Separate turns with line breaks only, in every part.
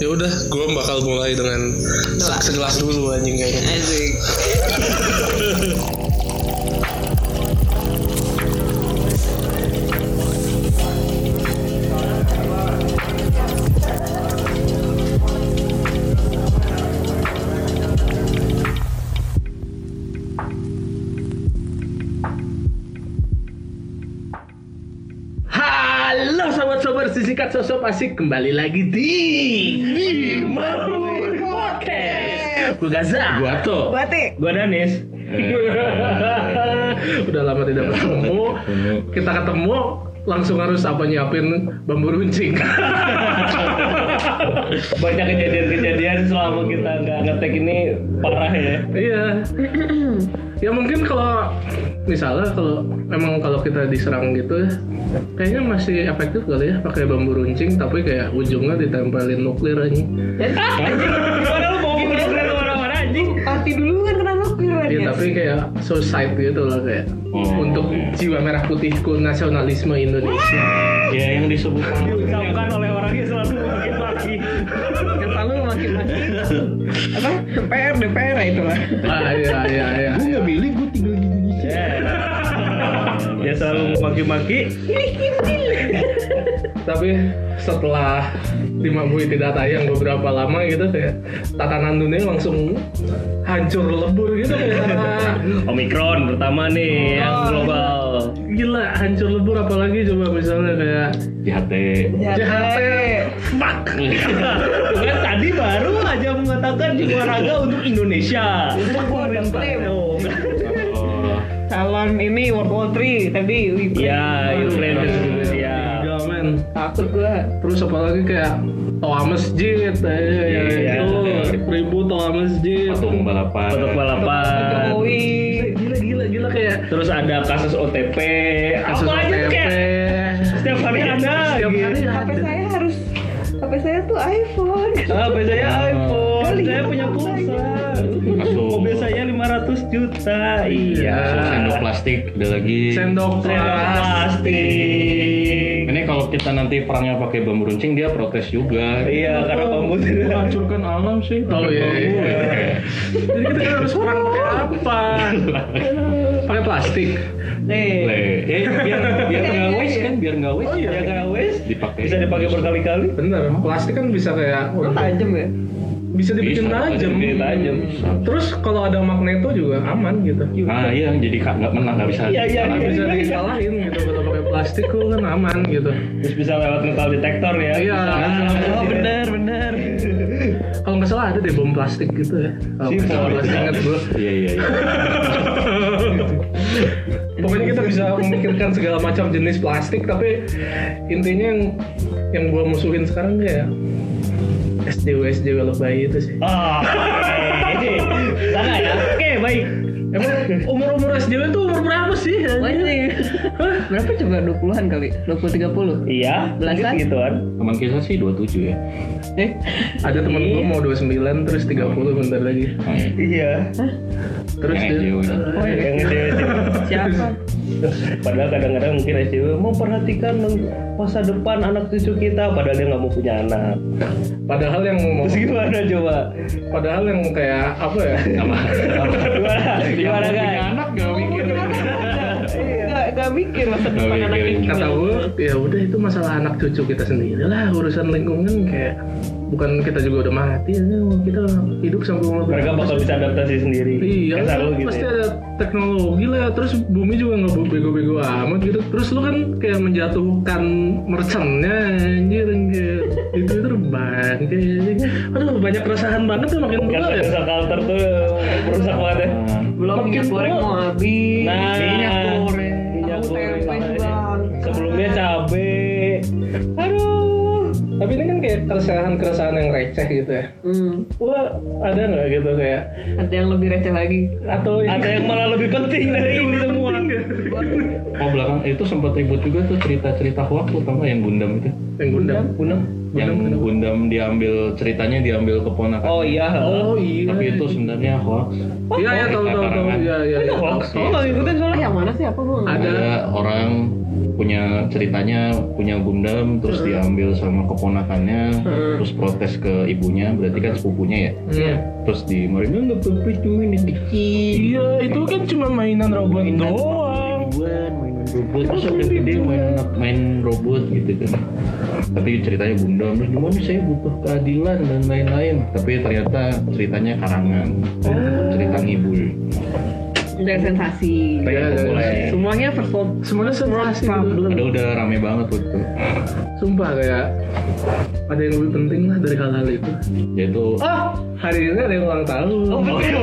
ya udah gue bakal mulai dengan
Doa.
segelas dulu anjing kayaknya
Asik.
Halo sobat-sobat sisikat sosok asik kembali lagi di Marmur Podcast. Gue Gaza. Gue Ato.
Gua Ati.
Gue Danis.
Eh.
Udah lama
Ya,
tidak bertemu. Kita ketemu langsung harus apa nyiapin bambu runcing.
banyak kejadian-kejadian selama kita nggak ngetek ini parah ya
Iya. ya mungkin kalau misalnya kalau emang kalau kita diserang gitu kayaknya masih efektif kali ya pakai bambu runcing tapi kayak ujungnya ditempelin nuklir aja.
gimana lu mau nuklir kemana-mana anjing
Arti dulu kan kena nuklir
Iya
ya.
tapi kayak suicide gitu loh kayak
Oh.
untuk jiwa merah putihku nasionalisme Indonesia.
ya yang disebutkan diucapkan oleh orang yang selalu makin lagi
Kata lu makin makin apa PR DPR ya itulah.
ah iya iya iya.
Iya. ya selalu maki-maki
Tapi setelah Dimabui tidak tayang beberapa lama gitu kayak tatanan dunia langsung hancur lebur gitu kayak karena
omikron pertama nih yang global
gila hancur lebur apalagi coba misalnya kayak
JHT
Ya,
JHT.
fuck kan tadi baru aja mengatakan juaraga untuk Indonesia Oh,
oh,
Calon ini World War 3 tadi.
ya
Ah,
Ukraine dan Rusia
Gila, iya, men. takut gua terus apalagi kayak toa masjid eh, ya,
Iya.
itu ribut toa masjid
patung balapan
untuk balapan
Jokowi.
gila gila gila kayak
terus ada kasus OTP
kasus
apa aja tuh
OTP.
kayak setiap hari ada
Iya, Setiap
gitu.
hari
HP
ada.
saya harus HP saya tuh iPhone.
Ah, HP saya iPhone,
Kali
saya
ya,
punya
mobil
pulsa.
Masuk.
Mobil saya 500 juta. Iya.
Terus sendok plastik ada lagi
Ah. sendok
Sendok
keras
plastik.
ini kalau kita nanti perangnya pakai bambu runcing dia protes juga
Iya, karena komputer.
hancurkan alam sih oh iya, iya. jadi kita kan harus perang pakai apa pakai plastik
Nih.
Leh, eh, biar biar nggak
Iya,
waste
iya.
kan biar nggak waste
Ya kan wes
Dipakai.
bisa dipakai berkali-kali.
bener plastik kan bisa kayak
Tajam ya.
bisa dibikin
Bisa,
tajam Iya,
dibikin
tajam.
terus kalau ada magneto juga aman gitu
ah iya jadi ka- nggak menang nggak bisa
Iya, iya,
Nggak
iya.
bisa dikalahin gitu kalau pakai plastik lu kan aman gitu
Terus bisa lewat metal detector ya.
Iya.
Bisa.
Oh, bener,
bener.
kalau nggak salah ada deh bom plastik gitu ya kalau nggak salah masih ingat gua
iya iya iya
pokoknya kita bisa memikirkan segala macam jenis plastik tapi intinya yang yang gua musuhin sekarang kayak SJW SJW lebay itu sih
Ah. oke. Sana ya. Oke, baik.
emang umur umur SJW itu umur berapa sih
Wajib. Berapa coba 20-an kali? 20 30.
Iya,
Belasan.
mungkin gituan.
teman kita sih 27 ya
Eh,
ada temen gua mau 29 terus 30 bentar lagi
Oh, iya.
Iya.
terus
Yang
dia
SJW.
Oh, yang gede
siapa?
Padahal kadang-kadang mungkin SJW memperhatikan masa depan anak cucu kita, padahal dia nggak mau punya anak.
padahal yang mau
Terus gitu. gimana coba?
padahal yang kayak apa ya
Apa? Apa?
Gimana? Gimana guys?
Enggak enggak mikir masa
Nggak
depan anak
mikirin.
Iya.
kata gue ya udah itu masalah anak cucu kita sendiri lah urusan lingkungan kayak bukan kita juga udah mati ya kita hidup sampai umur
Mereka
berapa
bakal
sih?
bisa adaptasi sendiri.
Iya,
Kasar lu
lu
gitu.
pasti
ya.
ada teknologi lah. Terus bumi juga nggak bego-bego amat gitu. Terus lu kan kayak menjatuhkan merchantnya, anjir anjir. Itu itu rebahan kayak aduh banyak keresahan banget tuh makin
Kan
tua ya.
social culture tuh merusak banget ya.
Ah.
belum minyak goreng mau habis.
Nah,
Minyak goreng.
minyak
Aku
goreng.
tempe juga.
Sebelumnya cabe. Aduh.
Tapi ini kan kayak keresahan-keresahan yang receh gitu ya.
Hmm.
Wah, ada nggak gitu kayak
Ada yang lebih receh lagi.
atau
Ada yang malah lebih penting dari ini semua.
oh belakang itu sempat ribut juga tuh cerita cerita hoax tuh tau nggak yang gundam itu
yang gundam?
Gundam.
yang
Gundam,
Gundam diambil ceritanya diambil keponakan.
Oh iya.
Oh iya.
Tapi itu sebenarnya hoax.
Iya iya tahu tahu tahu. Iya iya. iya.
Hoax.
Gue nggak ngikutin soalnya yang mana sih apa gue nggak.
Ada.
Ada orang punya ceritanya punya Gundam terus diambil sama keponakannya terus protes ke ibunya berarti kan sepupunya ya
Iya.
terus di mereka nggak apa-apa cuma ini kecil
Iya, itu kan cuma mainan robot doang.
Buan, mainan robot terus udah gede main anak main robot gitu kan tapi ceritanya Gundam terus gimana saya butuh keadilan dan lain-lain tapi ternyata ceritanya karangan
Oh.
cerita ngibul
Dari sensasi.
Tapi
Iya,
populer.
Semuanya first world.
Semuanya sensasi
World
gitu.
Padahal udah rame banget waktu itu
Sumpah kayak ada yang lebih penting lah dari hal-hal itu.
yaitu
Oh, hari ini ada yang ulang tahun.
oh, betul.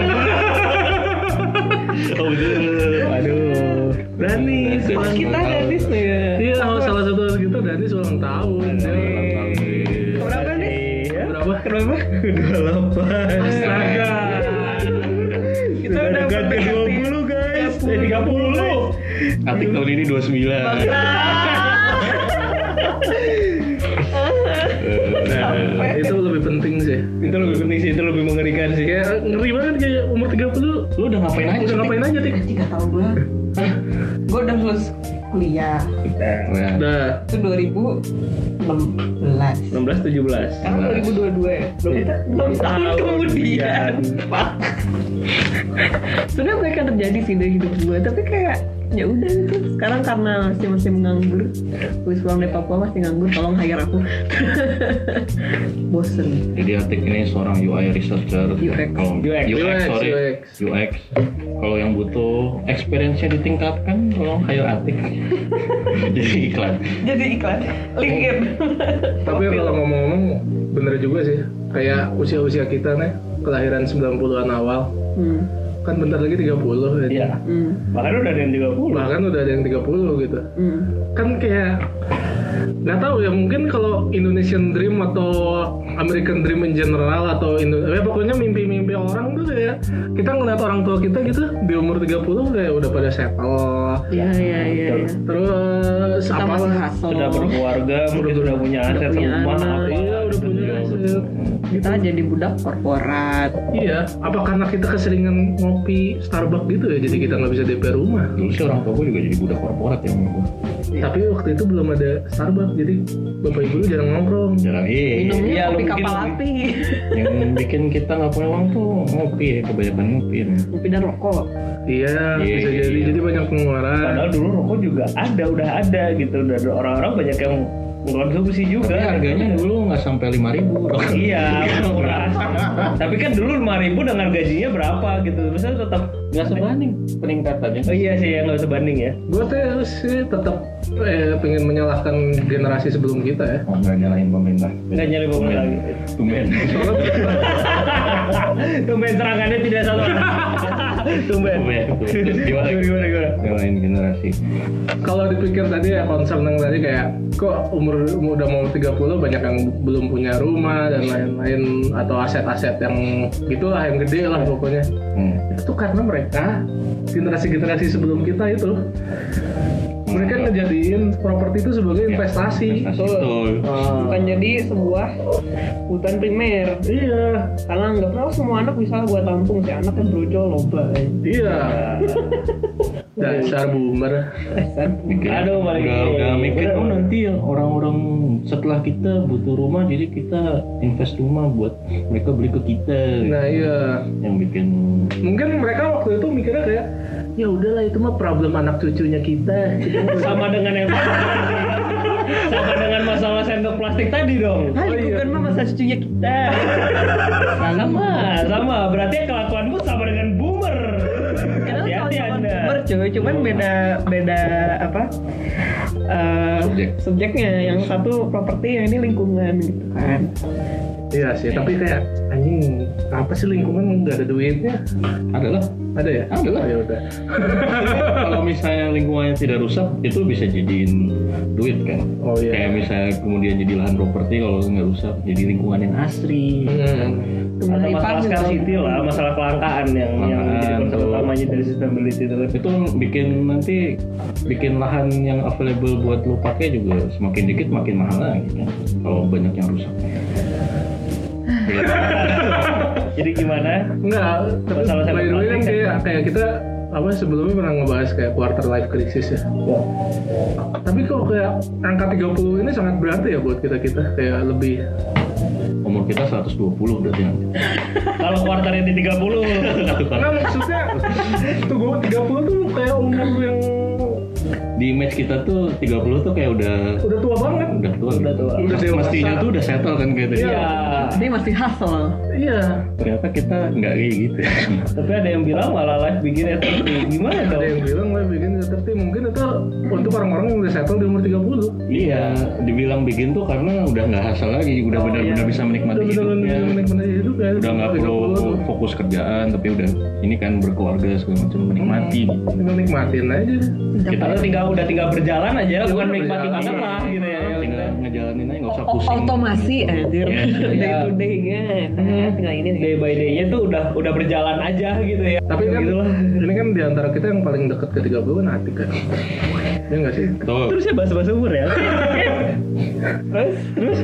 aduh
Dani,
Host kita gratis nih. ya.
Iya, oh, salah satu host kita Dani ulang tahun.
Berapa nih?
Iya.
Iya.
Berapa?
Berapa?
Astaga.
Kita udah PDKT.
guys. Eh 30 guys.
Atik tahun ini 29 Eh,
Itu lebih penting sih.
Itu lebih penting sih, itu lebih mengerikan sih.
Kayak ngeri banget kayak umur 30
Lu udah ngapain aja?
udah ngapain aja, Tik?
Tiga tahun gue. Gue udah lulus kuliah
Nah,
Udah.
itu 2016.
16 17.
Sekarang 2022 ya. Belum kita belum tahun kemudian. Pak. Sebenarnya banyak yang terjadi sih dari hidup gue, tapi kayak ya udah gitu. Sekarang karena masih masih nganggur, gue pulang dari Papua masih nganggur, tolong hire aku. Bosen.
Jadi Atik ini seorang UI researcher
UX.
Kalau-
UX,
UX, sorry
UX.
UX Kalau yang butuh experience-nya ditingkatkan Tolong hire Atik Jadi iklan
Jadi iklan ya? LinkedIn.
Tapi kalau ngomong-ngomong bener juga sih. Kayak usia-usia kita nih, kelahiran 90-an awal.
hmm.
Kan bentar lagi 30 ya.
Iya.
Hmm.
Bahkan udah ada yang 30.
Bahkan udah ada yang 30 gitu.
Hmm.
kan kayak nggak tahu ya mungkin kalau Indonesian Dream atau American Dream in general atau Indo ya pokoknya mimpi-mimpi orang tuh kayak kita ngeliat orang tua kita gitu di umur 30 kayak udah pada settle
Iya iya iya. iya.
terus
Kita
apa
masih hustle.
Sudah berkeluarga, mungkin sudah punya aset
punya
rumah
anak.
apa.
iya udah punya aset
Kita jadi budak korporat.
iya apa karena kita keseringan ngopi Starbucks gitu ya jadi kita nggak bisa DP rumah
Dulu sih orang tua gue juga jadi budak korporat ya sama gue.
tapi waktu itu belum ada Starbucks jadi bapak ibu jarang ngobrol
Jarang iya
Minumnya
Iya, lu
kopi
mungkin-
kapal api.
Yang bikin kita nggak punya uang tuh ngopi ya Kebanyakan ngopi ya
Kopi dan rokok.
iya
Iya,
bisa
iya,
jadi
iya.
jadi banyak pengeluaran
Padahal dulu rokok juga ada, udah ada gitu. Udah ada orang-orang banyak yang mengkonsumsi juga.
Tapi harganya dulu nggak sampai 5.000 ribu
Iya, murah. Tapi kan dulu 5000 dengan gajinya berapa gitu. Misalnya tetap
Nggak sebanding peningkatannya
Oh iya sih, ya nggak sebanding ya.
Gue tuh sih tetap eh, pengen menyalahkan generasi sebelum kita ya.
Oh, nggak nyalahin pemerintah
Nggak nyari pemenang lagi.
Tumben
ya.
Tumben serangannya tidak satu arah. Tumben.
Tumben. Terus gimana?
Gimana, gimana?
Nyalahin generasi
Kalau dipikir tadi ya concern yang tadi kayak kok umur umur udah mau 30 banyak yang belum punya rumah dan lain-lain atau aset-aset yang gitulah yang gede lah pokoknya.
hmm.
Itu karena mereka generasi-generasi sebelum kita itu
Iya.
mereka ngejadiin properti itu sebagai
Ya,
investasi.
investasi, betul.
Ah,
bukan jadi sebuah hutan primer
iya,
karena nggak pernah semua anak bisa buat tampung si anak yang brojol loba eh.
iya. Dasar boomer.
dasar
Mikir-
Aduh, balik
udah,
lagi.
udah mikir
Udah,
oh
udah.
nanti orang-orang setelah kita butuh rumah jadi kita invest rumah buat mereka beli ke kita
Nah, iya.
yang bikin
mungkin mereka waktu itu mikirnya kayak ya udahlah itu mah problem anak cucunya kita
Sama dengan yang sama dengan masalah sendok plastik tadi dong.
ah
Oh, iya.
bukan mah masa cucunya kita
Sama, sama. Berarti kelakuanmu sama dengan boomer.
karena kalau
Hati-hati
zaman
Anda.
boomer cuy cuman beda beda apa eh,
Subjek.
subjeknya yang satu properti yang ini lingkungan gitu kan
Iya.
iya sih tapi kayak anjing apa sih lingkungan nggak ada duitnya
adalah
Ada ya?
Ada lah.
Ya udah. Ah.
kalau misalnya lingkungannya tidak rusak itu bisa jadiin duit kan
Oh iya.
kayak misalnya kemudian jadi lahan properti kalau nggak rusak jadi lingkungan yang asri
Hmm.
Ada
Kembali
masalah
pagi,
gitu.
scarcity lah, masalah kelangkaan yang yang
Kelangkaan,
jadi konsep
betul.
utamanya dari sustainability itu.
itu bikin nanti bikin lahan yang available buat lo pakai juga semakin dikit makin mahal lagi kan kalau banyak yang rusak
Jadi gimana?
Enggak, tapi
Masalah sama
by the way kan
plastik kan?
kayak kayak kita apa sebelumnya pernah ngebahas kayak quarter life crisis ya.
Iya.
Tapi kok kayak angka 30 ini sangat berarti ya buat kita-kita kayak lebih
umur kita 120 berarti nanti kan.
Kalau kuartalnya di 30
Satu kali.
Enggak maksudnya tuh gue 30 tuh kayak umur yang
di match kita tuh 30 tuh kayak udah
udah tua banget.
udah tua gitu.
Udah tua.
Udah dewasa.
mestinya tuh udah settle kan kayak tadi
Iya.
Ya.
Dia masih hustle.
Iya.
ternyata kita nggak kayak gitu
Tapi ada yang bilang malah life begin at 30. Gimana
Ada
dong?
yang bilang lah bikin tapi mungkin itu untuk orang-orang yang udah settle di umur 30.
Iya, dibilang bikin tuh karena udah nggak hasil lagi, udah
Oh,
benar-benar
iya.
bisa menikmati hidupnya, udah nggak perlu fokus kerjaan, tapi udah ini kan berkeluarga segala macam menikmati. gitu.
Tinggal nikmatin aja.
Kita udah tinggal udah tinggal berjalan aja,
Iya,
bukan
udah
menikmati
berjalan. Iya.
banget lah gitu ya.
Tinggal ngejalanin aja nggak usah
O-
pusing.
Otomasi anjir.
Iya.
Day to day kan. Nah, Tinggal ini nih.
Day by day-nya tuh udah udah berjalan aja gitu ya.
Tapi kan
Gitu lah.
ini kan di antara kita yang paling dekat ke 30 kan Atik kan. Ya enggak sih?
Tuh,
Terus ya bahas-bahas umur ya. terus terus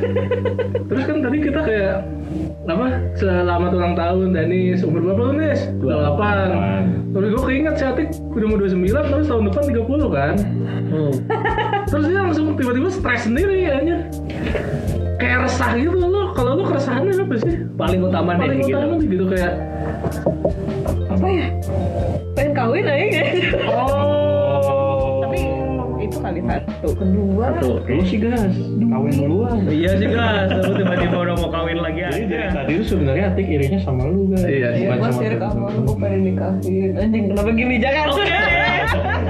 Terus kan tadi kita kayak apa? Selamat ulang tahun Danis. Umur berapa lu, Nis?
Nah,
28. Terus gue keinget si Atik udah mau 29 terus tahun depan 30 kan.
Hmm.
Terus dia langsung tiba-tiba stres sendiri anjir. Kayak resah gitu lo. Kalau lo keresahannya apa sih?
paling utama deh
Paling
gitu.
utama nih gitu kayak
Apa ya? Pengen kawin aja kan.
Oh.
Tapi itu kali satu. Kedua.
tuh, lu sih gas, kawin duluan.
Iya sih guys, lu tiba-tiba udah mau kawin lagi
Jadi dari
aja.
tadi tuh sebenarnya Atik irinya sama lu kan.
Iya,
Ya,
bukan
gue
sama
sirik apa lu pengen nikahin Anjing kenapa gini jangan
Gan,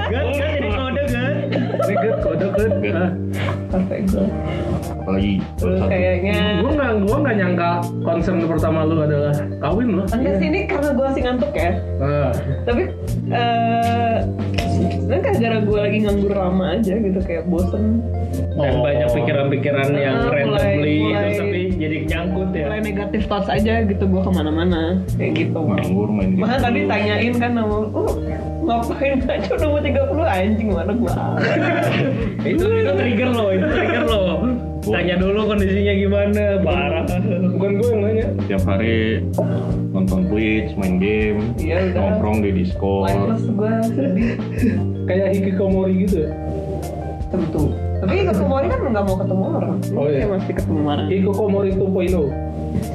gan ini kode gan.
ini gede kode gede.
Gede.
Ah.
Sampai gue
Apalagi baru
Terus
satu.
kayaknya
gue nggak gue nggak nyangka concern pertama lu adalah kawin loh
Enggak sih ini karena gue masih ngantuk ya
nah,
Iya. Tapi eh Sebenernya gara-gara gue lagi nganggur lama aja gitu Kayak bosen
Dan
Oh.
banyak pikiran-pikiran
Ah,
yang
mulai-
randomly
mulai-
terus tapi jadi nyangkut ya.
Mulai negatif thoughts aja gitu gue kemana-mana Kayak gitu
Nganggur main game.
Malah tadi tanyain kan sama lu, "Lu ngapain aja udah mau 30 anjing mana gua
Itu itu trigger loh, itu trigger loh. Tanya dulu kondisinya gimana, parah.
bukan gue yang nanya
Tiap hari nonton Twitch, main game,
Iya, udah.
nongkrong di
Oh.
Discord.
Lifeless gue sedih
kayak hikikomori gitu ya
tentu Tapi Hikikomori kan nggak mau ketemu orang
Oh, iya.
Dia masih ketemu orang
hikikomori 2.0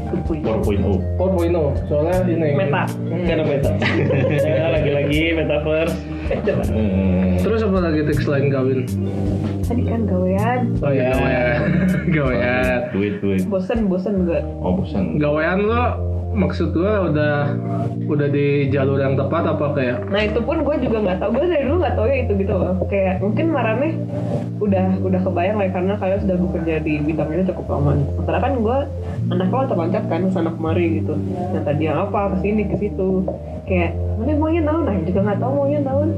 4.0
4.0 oh. soalnya ini
Meta
Iya.
Karena meta. Ya, lagi-lagi metaverse.
Eh,
terus apa lagi teks lain kawin
Tadi kan gawean
oh iya gawean
Ya.
gawean
oh. duit duit
bosen bosen gue
oh bosan
gawean lo maksud gue udah udah di jalur yang tepat apa kayak
nah itu pun gue juga nggak tahu gue dari dulu nggak tahu ya itu gitu loh kayak mungkin marane udah udah kebayang lah ya, karena kalian sudah bekerja di bidang ini cukup lama sementara kan gue anak lo terpancat kan kesana kemari gitu nah tadi yang apa kesini ke situ kayak mana maunya tahun nah juga nggak tahu maunya tahun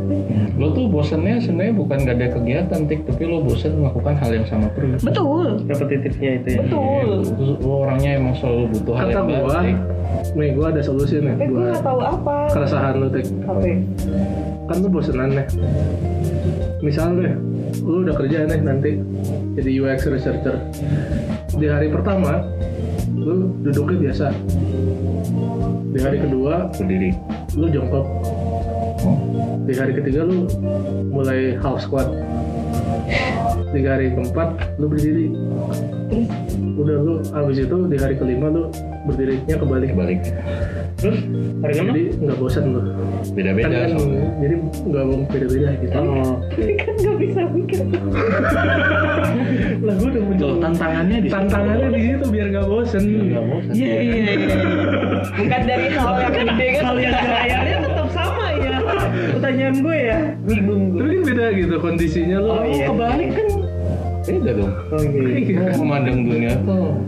lo tuh bosannya sebenarnya bukan gak ada kegiatan tik tapi lo bosan melakukan hal yang sama terus
betul
Repetitifnya itu ya.
betul
Lo- lo orangnya emang selalu butuh hal
kata
yang baru
gue
Tik.
Kan nih gue ada solusi nih
tapi gue
buat
Eh, nggak tahu apa
keresahan lo tek
apa ya?
kan lu bosenan nih misalnya lu udah kerja nih nanti jadi UX researcher di hari pertama lu duduknya biasa di hari kedua
berdiri
lu jongkok
oh.
di hari ketiga lu mulai half squat di hari keempat lu berdiri
terus
udah lu habis itu di hari kelima lu berdirinya kebalik
balik
Terus hari ini
jadi nggak bosan lu
beda
kan,
beda
kan jadi nggak beda-beda gitu
tapi kan nggak bisa mikir
lah gue udah mencoba
tantangannya di
tantangannya di situ biar nggak bosen
nggak bosan
Iya iya iya. Bukan dari hal yang gede kan.
Hal yang berlayarnya
tetap sama ya.
pertanyaan gue ya.
Bingung
tapi kan beda gitu kondisinya lo
iya, Oh,
kebalik kan.
beda dong
Iya.
lo memandang dunia tuh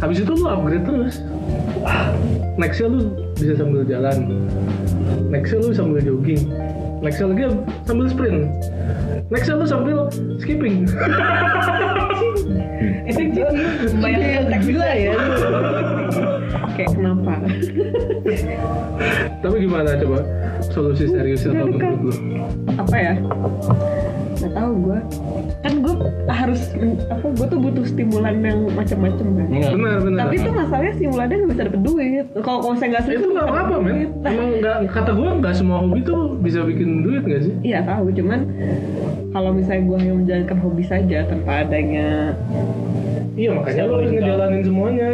habis itu lo upgrade terus nextnya lo bisa sambil jalan nextnya lu sambil jogging nextnya lagi sambil sprint nextnya lu sambil skipping
itu gue membayangkan konteks gila ya kayak kenapa
tapi gimana coba solusi serius apa menurut lu
apa ya nggak tahu gue kan gue harus apa gue tuh butuh stimulan yang macam-macam kan
benar benar
tapi itu masalahnya stimulannya nggak bisa dapet duit kalau kalau saya nggak
itu nggak apa-apa men
Nah.
emang nggak kata gua nggak semua hobi tuh bisa bikin duit nggak sih
Iya tahu, cuman kalau misalnya gue hanya menjalankan hobi saja tanpa adanya
iya makanya lu harus ngejalanin semuanya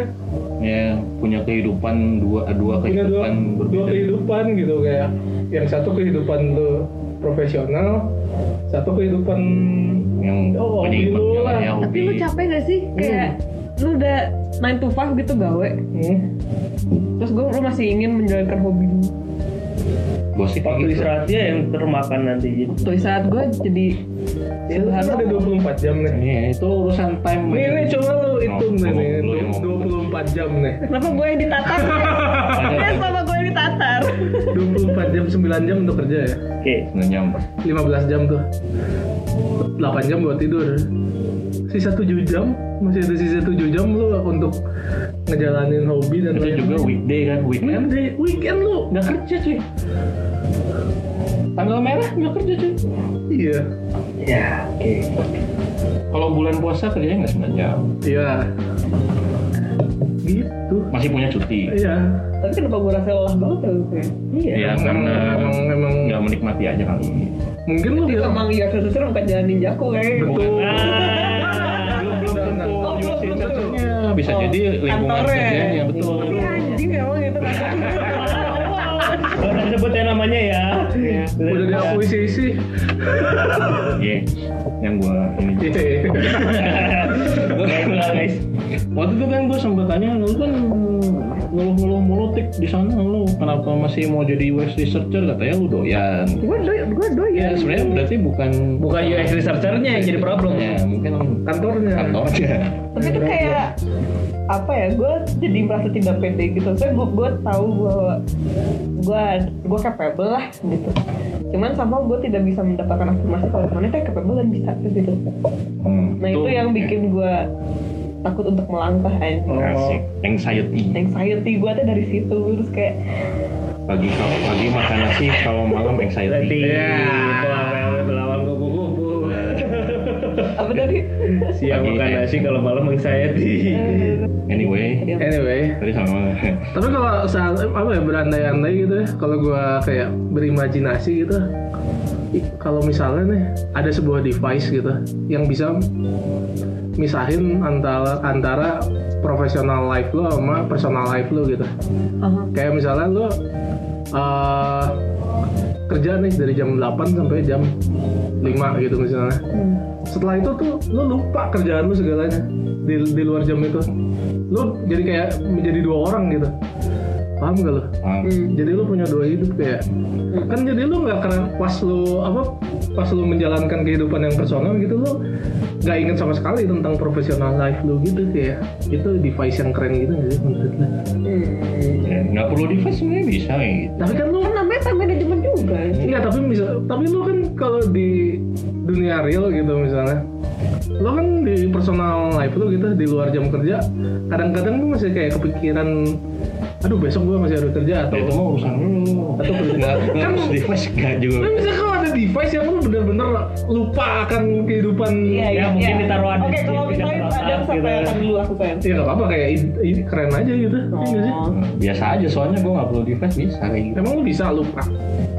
ya punya kehidupan dua dua
punya dua,
kehidupan
dua
berbeda
kehidupan gitu kayak yang satu kehidupan lu profesional satu kehidupan
yang
Oh,
punya
hobi Hmm.
impak
lu
jalan
lah.
ya
Tapi
hobi
lu capek gak sih? Kayak lu udah 9 to 5 gitu gawe
hmm,
Terus gue lu masih ingin menjalankan hobi lu
gosip
Waktu
gitu
istirahatnya yang termakan nanti gitu.
Tuh saat gue jadi
ya lu kan ada 24 jam nih
Iya, itu urusan time
nih nih coba lu hitung nih,
ngomong
nih
dulu, ya, ngomong.
24 jam nih
Kenapa gue yang ditatar? Ya sama gue yang ditatar
24 jam 9 jam untuk kerja ya
Oke.
sebenarnya
15 jam tuh 8 jam buat tidur sisa 7 jam masih ada sisa 7 jam lu untuk ngejalanin hobi dan
itu juga weekday kan weekend
weekend weekend lu
nggak kerja cuy tanggal merah nggak kerja cuy
iya
Ya, oke.
kalau bulan puasa kerjanya nggak sembilan jam
iya gitu
masih punya cuti
iya
Tapi kenapa gue rasa lelah banget ya lu kayak
Iya.
ya karena
emang, emang,
nggak menikmati aja kali ini
mungkin lu
Tapi
bilang
emang ya sesuatu bukan jalan ninjaku kayak gitu.
betul
Ah,
Oh, belum, belum, belum.
Ya, bisa
Oh,
jadi lingkungan
kantornya.
kerjanya betul
Iya, anjing emang gitu kan
Udah sebutnya namanya ya.
udah diakui sih sih
Iya, yang gua ini
Iya,
Iya.
Gue guys.
waktu itu kan gue sempet tanya lu kan ngeluh-ngeluh mulutik di sana lu kenapa masih mau jadi web researcher katanya lu doyan
Gue doyan, gue
ya
doyan
sebenarnya berarti bukan
Bukan UX researchernya yang jadi problem.
ya mungkin
kantornya
kantornya
tapi itu kayak apa ya gue jadi merasa tidak pede gitu soalnya gue gue tahu gue gue gue capable lah gitu cuman sama gue tidak bisa mendapatkan afirmasi kalau teman itu capable dan bisa gitu
Hmm,
nah itu yang bikin gue takut untuk melangkah aja
Asik.
Oh.
anxiety
anxiety gue tuh dari situ terus kayak
pagi kalau pagi makan nasi kalau malam
Berarti
anxiety
itu
Iya.
apa yang melawan kupu-kupu.
apa tadi
Siang makan nasi kan, kalau malam anxiety.
Iya.
anyway
anyway
tadi sama mana?
tapi kalau saat apa ya berandai-andai gitu ya kalau gua kayak berimajinasi gitu i- kalau misalnya nih ada sebuah device gitu yang bisa misahin antara antara profesional life lo sama personal life lo gitu
Aha.
kayak misalnya lo eh, kerja nih dari jam 8 sampai jam 5 gitu misalnya
Hmm.
setelah itu tuh lo lupa kerjaan lo segalanya di, di luar jam itu lo jadi kayak menjadi dua orang gitu paham gak lo?
Ah,
Hmm.
jadi lo punya dua hidup kayak kan jadi lo nggak keren pas lo apa pas lo menjalankan kehidupan yang personal gitu lo nggak ingat sama sekali tentang profesional life lo gitu kayak itu device yang keren gitu nggak sih menurut lo?
Hmm.
ya, nggak perlu device sebenarnya bisa kayak gitu
tapi kan lo
kan namanya time management juga
Enggak, tapi misal, tapi lu kan kalau di dunia real gitu misalnya, lu kan di personal life lu gitu di luar jam kerja, kadang-kadang lu masih kayak kepikiran, aduh besok gua masih harus kerja
Ya,
atau
itu mah urusan lu atau nggak nggak
Kan-
harus device nggak juga
Tapi misalnya kalau ada device yang lu bener-bener lupa akan kehidupan
Ya, mungkin ditaruhan di
Iya, Oke, kalau
sini,
misalnya
tidak
ada
terasa,
siapa yang
gitu.
akan dulu aku sayang.
Ya nggak apa-apa kayak id- id- keren aja gitu. Iya nggak sih?
iya. Oh.
biasa aja soalnya gue nggak perlu device bisa kayak gitu
Emang lu bisa lupa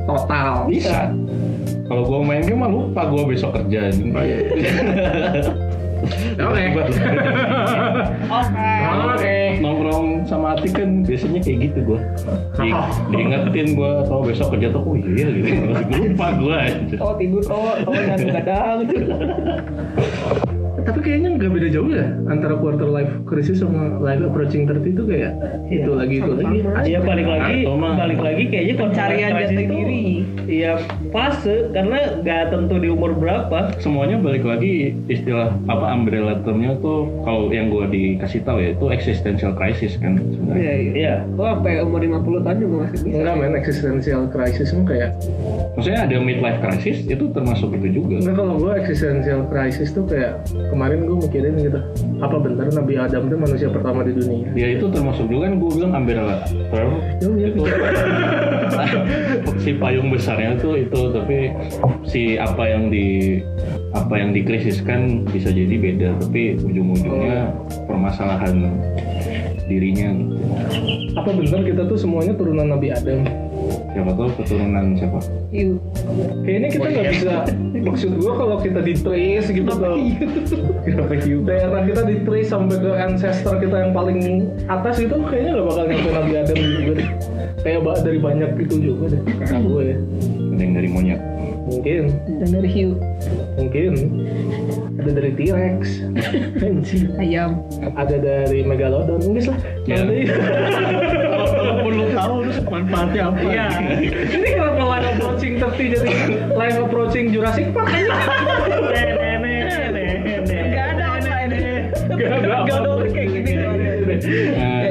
total?
bisa kalau gue main game mah lupa gue besok kerja
Oke.
Oke.
Oke.
nongkrong sama Atik kan biasanya kayak gitu gue Di, diingetin gue atau besok kerja tuh oh iya gitu lupa gue
Tawa tidur, tawa, tawa gadang-gadang.
Tapi tapi kayaknya nggak beda jauh ya antara quarter life crisis sama life approaching 30 itu kayak
Iya,
itu lagi itu lagi
sama-sama.
asli.
Iya balik lagi,
Atau mah-
balik lagi kayaknya kalau
Pencarian
crisis
jati
itu,
diri.
Iya fase karena nggak tentu di umur berapa.
semuanya balik lagi istilah apa umbrella termnya tuh kalau yang gua dikasih tahu ya itu existential crisis kan sebenarnya.
Iya, iya.
Iya.
Gue sampai umur 50 tahun juga masih bisa.
Enggak men, existential crisis kan kayak
Maksudnya ada midlife crisis itu termasuk itu juga.
Enggak kalau gue existential crisis tuh kayak Kemarin gue mikirin gitu Apa bener Nabi Adam tuh manusia pertama di dunia
Ya itu termasuk juga kan gua bilang umbrella term
Iya,
Jauh ya
itu si payung besarnya tuh itu tapi si apa yang di apa yang dikrisiskan bisa jadi beda tapi ujung-ujungnya permasalahan dirinya gitu.
Apa bener kita tuh semuanya turunan Nabi Adam
siapa tahu keturunan siapa
Iu.
Kayaknya kita nggak bisa Maksud gue kalau kita di trace gitu kalau
iya?
kenapa
Daerah kita di trace sampai ke ancestor kita yang paling atas itu Kayaknya nggak bakal nyampe Nabi Adam juga deh Kayak ba- dari banyak itu juga deh Kata gue ya
ada yang dari monyet
Mungkin
Dan dari hiu.
Mungkin Ada dari T-Rex Anjing.
Ayam.
ada dari Megalodon enggak lah
Ya.
Nanti.
Walaupun lu tahu lu manfaatnya apa. Iya.
ini kenapa line approaching tapi jadi line approaching Jurassic Park aja
Nggak ada online.
Nggak ada orang
kayak gini.
Nah,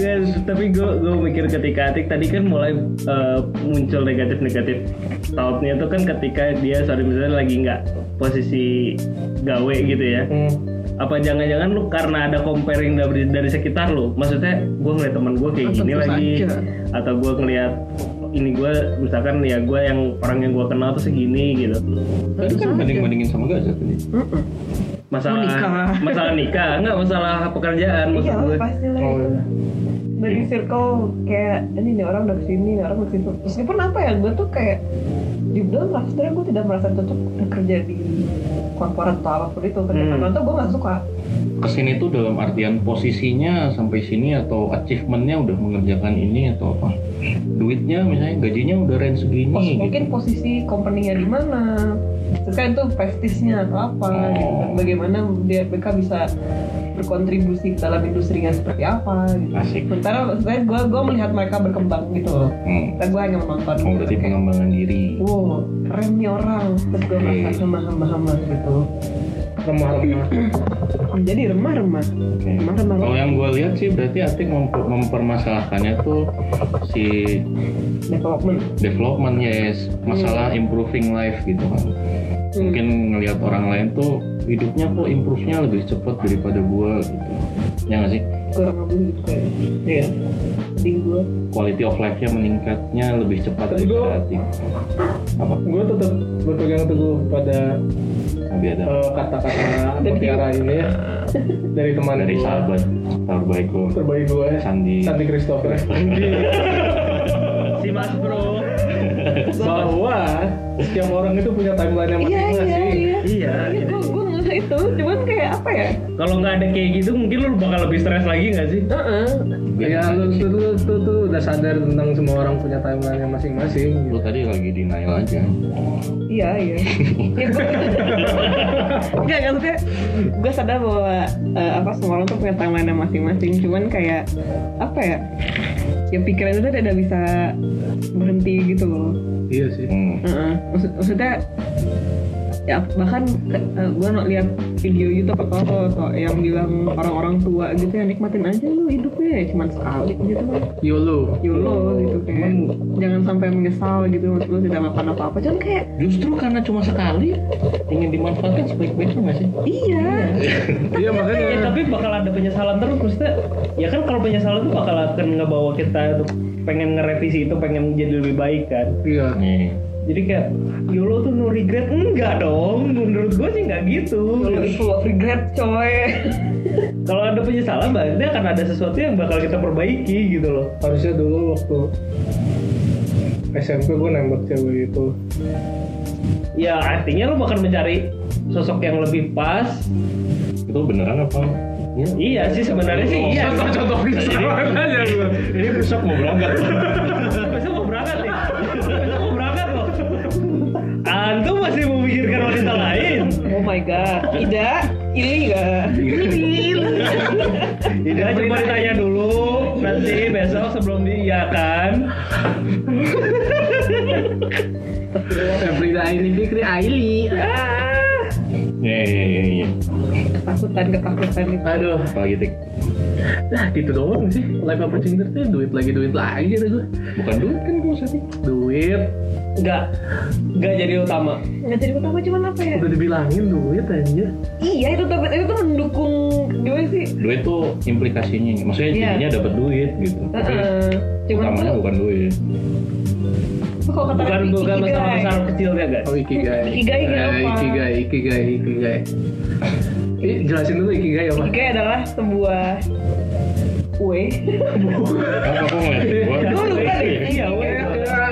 Yes, tapi gue gue mikir ketika Atik tadi kan mulai uh, muncul negatif-negatif thoughtnya itu kan ketika dia sorry misalnya lagi nggak posisi gawe gitu ya
Hmm.
apa jangan-jangan lu karena ada comparing dari, dari sekitar lu maksudnya gue ngeliat teman gue kayak gini lagi atau gue ngeliat ini gue misalkan ya gue yang orang yang gue kenal tuh segini gitu
itu kan banding bandingin sama gajah tadi
masalah
Menikah.
masalah nikah nggak masalah pekerjaan maksud
Iya,
gue
pasti lah.
Oh,
itu.
iya.
Dari circle kayak ini nih orang dari sini, nih orang dari situ. Meskipun apa ya, gue tuh kayak dibilang lah sebenarnya gue tidak merasa cocok kerja di korporat atau apapun itu kerja
Hmm.
kantoran tuh gue nggak suka
kesini tuh dalam artian posisinya sampai sini atau achievementnya udah mengerjakan ini atau apa duitnya misalnya gajinya udah range segini
Pos-
gitu.
mungkin posisi company-nya di mana terus kan itu prestisnya atau apa gitu kan. bagaimana dia mereka bisa berkontribusi ke dalam industrinya seperti apa gitu
asik
sementara maksudnya gue gue melihat mereka berkembang gitu loh
hmm.
dan gue hanya menonton
oh berarti
Kayak,
pengembangan diri
wow keren nih orang terus gue merasa
Oke.
hamba-hamba gitu
remah-remah
jadi remah-remah
Oke.
remah-remah
Kalau yang gue lihat sih berarti Atik mem- mempermasalahkannya tuh si
development
development yes masalah improving life gitu kan
Hmm.
mungkin ngelihat orang lain tuh hidupnya kok improve-nya lebih cepat daripada gua gitu ya nggak sih
gue orang abu gitu kayak iya sedih gue
quality of life-nya meningkatnya lebih cepat
Tapi gua-
daripada hati apa
gue tetap berpegang teguh pada
Nabi Adam
eh, kata-kata mutiara ini ya dari teman
dari
gua.
sahabat terbaik gua
terbaik gue ya
Sandi
Santi Christopher
si mas bro
bahwa setiap orang itu punya timeline yang
iya iya
masing-masing
iya
iya
iya gue gue ngeh itu cuman kayak apa ya
kalau nggak ada kayak gitu mungkin lu bakal lebih stres lagi nggak sih
Heeh.
ya lu tuh, tuh, tuh, tuh udah sadar tentang semua orang punya timeline yang masing-masing gitu.
lu tadi lagi denial aja
Iya iya. ya gue nggak nggak maksudnya gue sadar bahwa eh, apa semua orang tuh punya timeline masing-masing. Cuman kayak apa ya? Ya pikiran itu tidak bisa berhenti gitu loh.
iya sih
hmm.
Heeh. Maksud, maksudnya ya bahkan gue lihat video YouTube atau apa atau yang bilang orang-orang tua gitu ya nikmatin aja lu hidupnya ya cuman sekali gitu kan
YOLO
YOLO gitu kayak jangan sampai menyesal gitu maksud lu tidak melakukan apa-apa cuman kayak
justru karena cuma sekali ingin dimanfaatkan sebaik-baiknya nggak sih
iya
iya
Ya,
makanya
tapi bakal ada penyesalan terus maksudnya ya kan kalau penyesalan tuh bakal akan ngebawa kita untuk pengen ngerevisi itu pengen jadi lebih baik kan
iya
nih
jadi kayak YOLO tuh no regret enggak dong menurut gue sih nggak gitu
Lu full of regret coy
kalau ada penyesalan berarti akan ada sesuatu yang bakal kita perbaiki gitu loh
harusnya dulu waktu SMP gue nembak cewek itu
ya artinya lo bakal mencari sosok yang lebih pas
itu beneran apa ya.
iya sih sebenarnya sih iya
contoh kesalahan aja gue
ini besok mau berangkat
besok mau berangkat nih besok mau berangkat loh antum masih memikirkan wanita lain
Oh my god. Tidak, Ini enggak.
Ini coba ditanya dulu nanti besok sebelum diiyakan.
Febri Aili Fikri Aili.
Ah,
Iya iya iya iya.
ketakutan ketakutan itu.
Aduh,
Apalagi tik
nah gitu doang sih. Live opportunity tuh duit lagi duit lagi gitu gue.
bukan dulu kan gue usah
Duit,
Enggak, enggak jadi utama.
Nggak jadi pertama cuman apa ya?
udah dibilangin duit aja.
Iya itu tapi itu tuh mendukung gimana sih?
Duit tuh implikasinya, maksudnya
Iya.
jadinya dapat duit gitu. Tapi
Heeh. Cuman
utamanya
tuh
bukan duit.
tuh kalau kata
Bukan
orang
bukan
ikigai.
masalah-masalah kecilnya guys.
Oh ikigai.
Ikigai kenapa?
Eh, Ikigai, ikigai, ikigai. Ih, jelasin dulu ikigai apa?
Ikigai adalah sebuah kue.
Kenapa aku ngeliat Kan gua?
Gue lupa deh.
Iya, weh.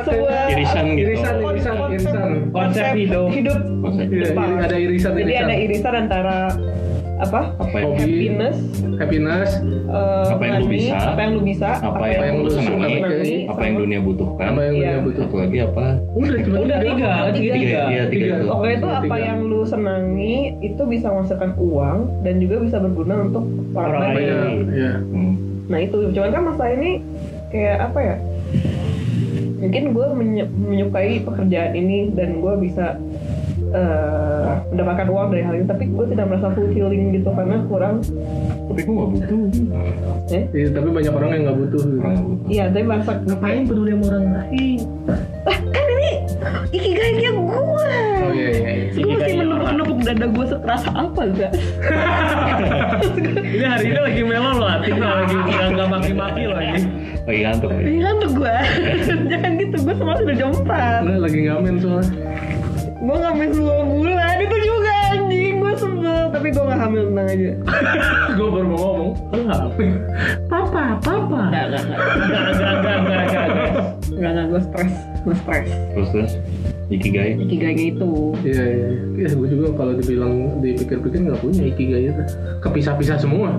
Sebuah
Irisan gitu.
Irisan, irisan, irisan.
Konsep hidup.
hidup.
Maksudnya
Iya,
Jepang.
ada irisan,
Jadi
irisan.
ada irisan antara apa?
apa ya?
Hobi.
Happiness,
Happiness,
eh,
Apa yang lu
money,
bisa,
apa yang lu bisa,
Apa yang
yang
lu
lu
senangi?
suka,
senangi,
Apa yang
sama-
dunia butuhkan?
apa yang
Iya.
dunia butuh?
Satu lagi apa?
Udah cuma
Udah tiga, tiga.
Tiga, iya tiga
Tiga.
itu.
Pokoknya itu
Tiga.
apa yang lu senangi itu bisa menghasilkan uang dan juga bisa berguna untuk orang
Orang
lain.
Iya, iya.
Hmm.
Nah itu, cuman kan masalah ini kayak apa ya? Mungkin gue menyukai pekerjaan ini dan gue bisa eh, mendapatkan uang dari hal ini, tapi gue tidak merasa fulfilling gitu karena kurang.
Tapi gua nggak butuh.
Eh?
Iya, tapi banyak orang yang nggak butuh.
Orang nggak butuh.
Iya, tapi merasa
Ngapain peduli sama orang lain?
Lah kan ini ikigainya gue.
Oh iya iya. iya.
Gue
Ikigai
masih
orang.
menepuk-nepuk dada gue sekerasa apa enggak?
Ini hari ini lagi melo loh, hati lo lagi nggak maki-maki loh ini.
Lagi ngantuk. ya?
Ini tuh gue. Jangan gitu, gue semalam udah jam 4.
Enggak lagi ngamen soalnya.
Gue ngambil 2 bulan, itu juga anjing. Gue sebel, tapi gue gak hamil tenang aja.
Gue baru mau ngomong.
Lu ngapain?
Papa, papa.
Enggak, enggak, enggak.
Enggak, enggak, enggak, enggak, enggak, guys.
Enggak, enggak, gue stres. Gue stres.
Terus terus. Ikigai.
Ikigainya itu.
Iya iya. Ya gue juga kalau dibilang dipikir-pikir nggak punya ikigai itu. Kepisah-pisah semua.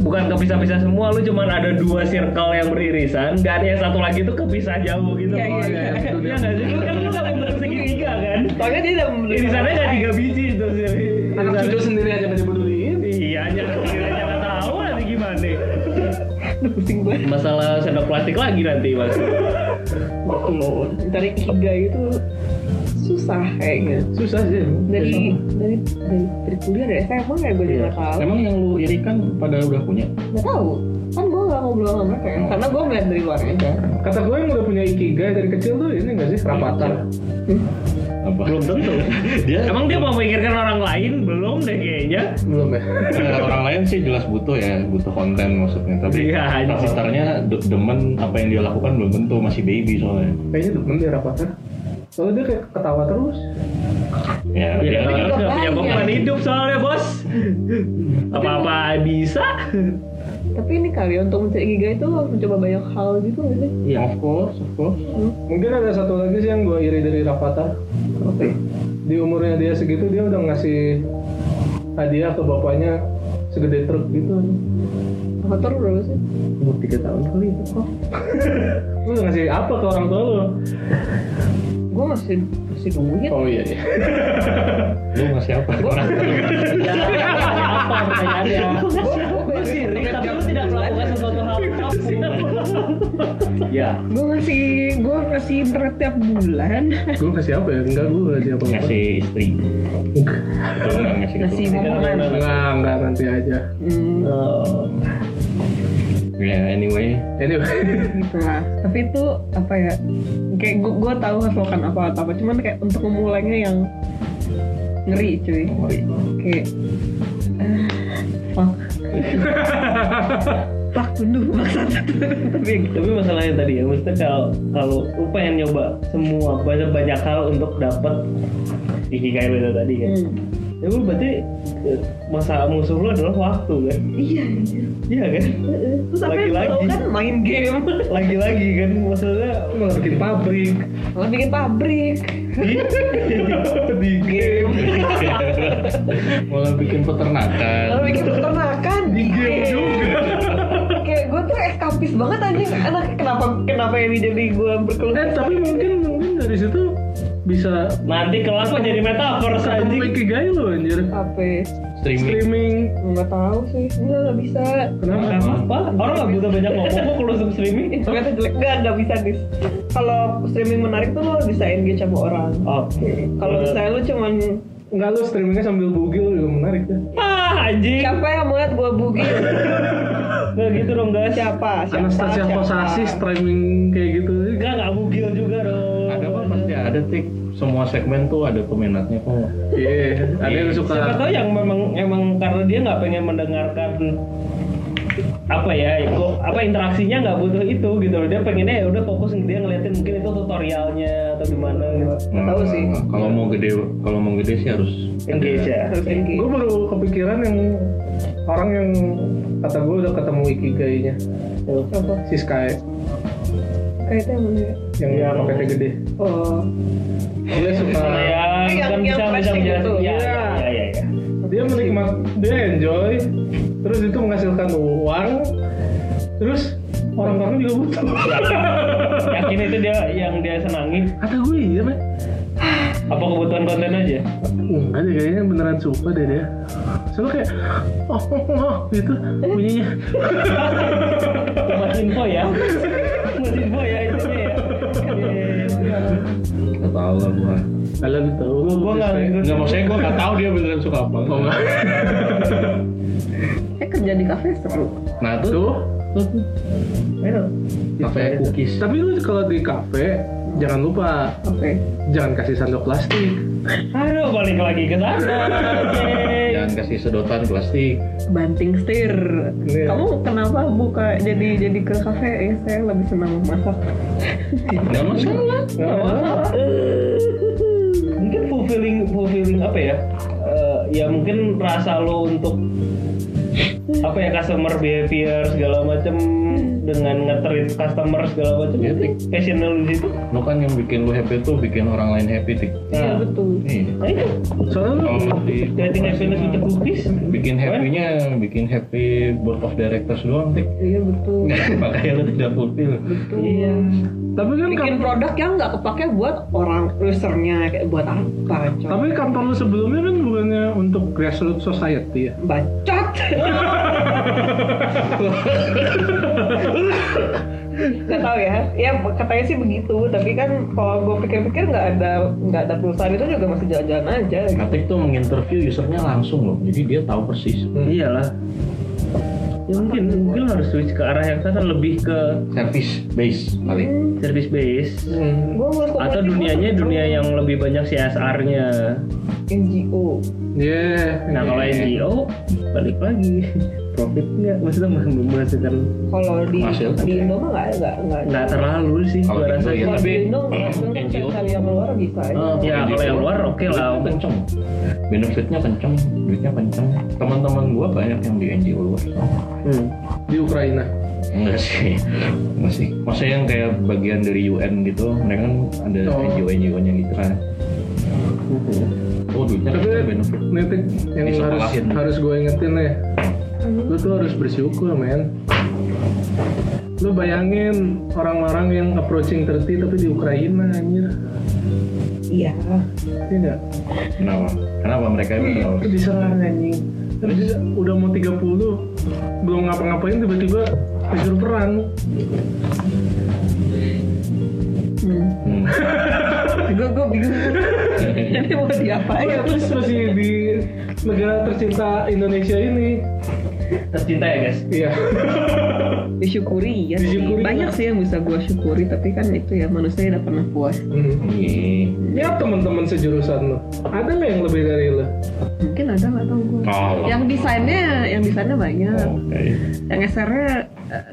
Bukan kepisah-pisah semua, lu cuman ada dua circle yang beririsan, nggak ada yang satu lagi tuh kepisah jauh gitu.
Iya, iya,
loh.
Iya,
iya.
Iya nggak sih? Lu kan lu kan bentuk segitiga kan?
Soalnya dia udah
Irisannya nggak tiga biji itu sih.
Anak cucu
Irisannya-
sendiri aja nggak dipeduliin.
Iya, aja nggak tahu nanti gimana.
pusing gue.
Masalah sendok plastik lagi nanti mas.
Betul. Cari ikigai itu susah kayaknya.
Susah sih.
Dari dari dari, dari kuliah dari SMA ya gue juga nggak tahu.
Emang yang lu irikan pada udah punya?
Gak tahu. Kan gue gak ngobrol sama mereka ya. Karena gue melihat dari luar aja.
Kata gue yang udah punya ikigai dari kecil tuh ini nggak sih rapatar.
Apa?
Belum tentu.
Dia
Emang dia mau memikirkan orang lain belum deh kayaknya.
Belum ya.
Eh, orang lain sih jelas butuh ya, butuh konten maksudnya. Tapi
Iya,
yeah,
anjing.
demen apa yang dia lakukan belum tentu masih baby soalnya.
Kayaknya demen dia rapatar. Soalnya dia kayak ketawa terus.
Ya,
Ya,
dia-
dia
dia-
nggak punya beban hidup soalnya bos. Apa-apa bisa.
Tapi ini kali ya, untuk mencari ikigai itu harus mencoba banyak hal gitu gak sih? Hmm?
Iya, of course, of
Oh.
course.
Mungkin ada satu lagi sih yang gue iri dari rapatar. ya?
Oke.
Di umurnya dia segitu dia udah ngasih hadiah ke bapaknya segede truk gitu.
Apa tuh berapa sih?
Umur tiga tahun kali itu kok. lu udah ngasih apa ke orang tua lu?
Gue masih masih duit.
Oh iya iya.
Lu masih apa? Orang
Apa pertanyaannya?
Gue
Tapi lu tidak melakukan sesuatu hal Ya.
ngasih gue ngasih internet tiap bulan.
gue ngasih apa ya? Enggak gue ngasih apa?
ngasih istri. Keturunan ngasih
Ngasih
Iya,
keturunan.
momongan.
Enggak enggak nanti aja.
Hmm,
Oh.
Ya, anyway,
Anyway.
gitu lah. Tapi itu apa ya? Kayak gue gue tahu harus melakukan apa atau apa. Cuman kayak untuk memulainya yang ngeri cuy.
mari.
Kayak ah, fuck. Fuck tunduk maksud. Tapi gitu.
Tapi masalahnya tadi ya, maksudnya kalau kalau lu pengen nyoba semua banyak banyak hal untuk dapat ikigai lu itu tadi kan.
Hmm.
Ya lu berarti eh, masalah musuh lu adalah waktu kan?
Iya. iya.
Iya kan?
Heeh. Terus apa yang
Lagi-lagi.
lu tahu kan main game.
Lagi-lagi kan maksudnya
malah bikin pabrik
Lo bikin pabrik.
di game.
Malah bikin peternakan.
Lalu bikin peternakan di game juga. Kayak gue tuh eskapis banget anjing. Anak kenapa kenapa ini jadi gue berkeluh?
eh tapi mungkin mungkin dari situ bisa
Nanti kelas mah jadi metaverse
ketemu
anjing.
ikigai lo anjir
Apa?
streaming
streaming
nggak tahu sih nggak nggak bisa
Kenapa? Apa? Orang nggak butuh banyak ngomong kok kalau sub streaming.
internetnya jelek nggak nggak bisa dis kalau streaming menarik tuh lo bisa engage sama orang
Oke.
kalau
Eh,
misalnya lo cuman
Enggak lu streamingnya sambil bugil juga menarik ya
ah anjing,
siapa yang mau lihat gua bugil
nggak gitu dong guys.
siapa siapa
Anastasia
siapa?
Posasi streaming kayak gitu
Enggak nggak bugil juga dong.
ada apa pasti ada tik semua segmen tuh ada peminatnya kok
iya ada yang suka
Siapa tahu yang memang emang karena dia nggak pengen mendengarkan apa ya kok apa interaksinya nggak butuh itu gitu loh dia pengennya ya udah fokus dia ngeliatin mungkin itu tutorialnya atau gimana gitu
Nggak tahu sih.
Nah, kalau mau gede kalau mau gede sih harus
engage ya
harus engage
gue baru kepikiran yang orang yang kata gue udah ketemu ikigai-nya
siapa
si Sky
kayak itu yang mana ya?
yang dia pakai T gede
oh
dia suka
Sama yang
Yang-
kan
yang
bisa bisa
flashing
menjelaskan
gitu.
ya
Iya.
ya ya, ya.
dia menikmat dia enjoy terus itu menghasilkan uang terus orang-orang juga butuh
yakin itu dia yang dia senangi
kata gue iya Pak.
apa kebutuhan konten aja
enggak deh kayaknya beneran suka deh dia soalnya kayak oh, oh, oh gitu bunyinya
mas info ya mas info ya intinya ya
Iya,
nggak tahu lah gua
kalau gitu lu
gue nggak
nggak maksudnya gua nggak tahu dia beneran suka apa
oh enggak
eh kerja di kafe seru
nah tuh
tuh
kafe cookies
tapi lu kalau di kafe jangan lupa
oke
jangan kasih sandok plastik
aduh balik lagi ke sana Yeay.
jangan kasih sedotan plastik
banting setir
Iya.
kamu kenapa buka jadi jadi ke kafe ya saya lebih senang masak
Nah.
Iya,
nggak masalah
Nggak apa-apa.
mungkin fulfilling fulfilling apa ya Eh, ya mungkin rasa lo untuk apa ya customer behavior segala macem dengan nge-treat customer segala macem
Iya,
itu passion lo di situ
lo kan yang bikin lu happy tuh bikin orang lain happy tik
iya
nah,
betul
Nih,
nah itu
soalnya lu
kalau di
dating happiness with the cookies
bikin happy-nya bikin happy board of directors doang tik
iya betul
makanya lu tidak fulfill
iya
tapi kan
bikin
kan-
produk yang nggak kepake buat orang usernya kayak buat apa coba
tapi kantor lu sebelumnya kan bukannya untuk grassroots society ya
bacot nggak tahu ya ya katanya sih begitu tapi kan kalau gue pikir-pikir nggak ada nggak ada perusahaan itu juga masih jalan-jalan aja gitu.
Atik Nah, tuh menginterview usernya langsung loh, jadi dia tahu persis
iyalah ya mungkin mungkin harus switch ke arah yang sana lebih ke
service base paling.
service base
hmm.
Gua ngeliat
atau
komunitas
dunianya
gua
dunia yang lebih banyak CSR-nya.
NGO
yeah
Nah kalau NGO balik lagi profit nggak maksudnya meng- menghasilkan
kalau di
Hasil.
di Indo mah nggak nggak nggak
nggak terlalu sih
Kalau
gua
di Indo
rasa.
kalau
Tapi-
di Indo nggak
NGO.
cari yang luar bisa aja
Ah,
Ya, kalau yang luar oke lah.
Duitnya kenceng, benefitnya kenceng, duitnya kenceng. Teman-teman gua banyak yang di NGO luar.
Hmm.
di Ukraina
Enggak sih, enggak sih. Maksudnya yang kayak bagian dari UN gitu, mereka kan ada
Oh.
NGO-NGO-nya gitu kan. Oh duitnya
Tapi-
kenceng benefit.
Nitik yang
Di
harus
sekolahin.
harus gue ingetin nih lu tuh harus bersyukur men lu bayangin orang-orang yang approaching 30 tapi di Ukraina anjir
iya
iya nggak?
Kenapa? Kenapa mereka itu?
Itu diserang anjing terus dia udah mau 30 belum ngapa-ngapain tiba-tiba disuruh perang
hmm.
Hmm.
gue gue bingung ini mau ya? diapain
Iya, terus masih di negara tercinta Indonesia ini
Tercinta ya guys.
iya
disyukuri ya sih.
Disyukuri.
banyak
iya.
sih yang bisa gue syukuri tapi kan itu ya manusia tidak pernah puas
Hmm.
Iya.
ya teman-teman sejurusan lu ada nggak yang lebih dari lu
mungkin ada nggak tahu gue
Oh,
yang desainnya yang desainnya banyak
Oke.
yang eh, SR-nya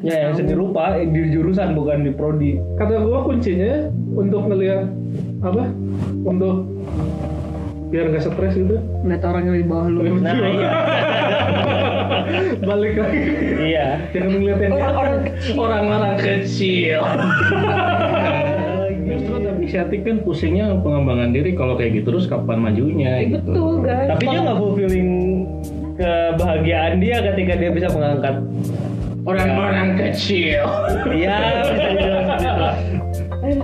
Ya yang seni rupa eh, di jurusan bukan di prodi.
kata gua kuncinya untuk ngelihat apa untuk biar nggak stres gitu
ngeliat orang yang di bawah lu
Nah iya.
balik lagi
iya.
jangan ngeliat yang
orang kecil
orang-orang kecil
Justru tapi si Atik kan pusingnya pengembangan diri kalau kayak gitu terus kapan majunya gitu.
betul guys
Tapi dia nggak fulfilling kebahagiaan dia ketika dia bisa mengangkat.
orang-orang kecil
Eh,
Iya bisa dibilang seperti itu.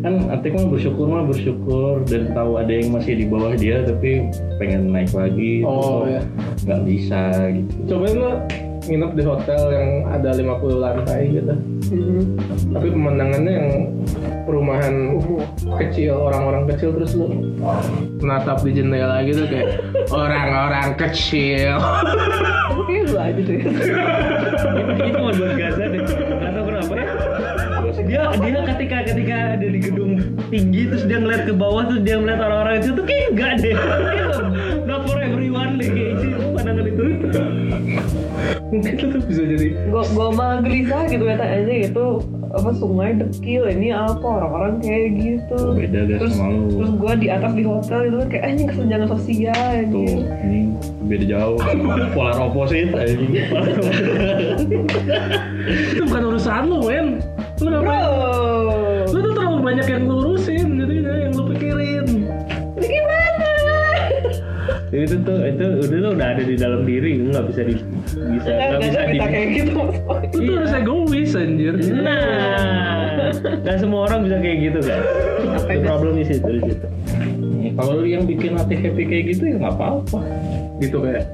Kan Atik mah bersyukur mah bersyukur dan tahu ada yang masih di bawah dia tapi pengen naik lagi
Oh,
tapi
iya.
nggak bisa gitu
Cobain lo nginep di hotel yang ada 50 lantai gitu.
hmm.
Tapi pemandangannya yang perumahan kecil, orang-orang kecil terus lu menatap di jendela gitu kayak orang-orang kecil.
Aku kayaknya lu aja deh.
Ini cuma buat Gaza deh. Gak tau kenapa ya. Dia dia ketika ketika ada di gedung tinggi terus dia ngeliat ke bawah terus dia ngeliat orang-orang itu tuh kayak enggak deh. Kayak Not for everyone deh kayak gitu. itu pandangan itu.
Mungkin lu tuh bisa jadi
Gue gue mah gelisah gitu ya aja gitu apa sungai dekil ini apa orang-orang kayak gitu.
Beda deh
terus,
sama lu.
Terus gue di atas di hotel gitu kan kayak anjing kesenjangan sosial gitu.
tuh
anjing.
ini beda jauh polar opposite anjing
itu bukan urusan lu, Wen. Lu
Bro,
ngapain? Lu tuh terlalu banyak yang lu urusin,
gitu,
jadi yang lu pikirin.
ini gimana?
itu tuh itu udah tuh udah ada di dalam diri nggak bisa di bisa
Nggak
nggak bisa
bisa
di
kayak gitu.
Lu tuh harus egois anjir.
Nah, nggak semua orang bisa kayak gitu kan. Itu
gitu.
problemnya sih dari situ.
Ya, kalau lu yang bikin Atik happy kayak gitu ya nggak apa-apa
Gitu kayak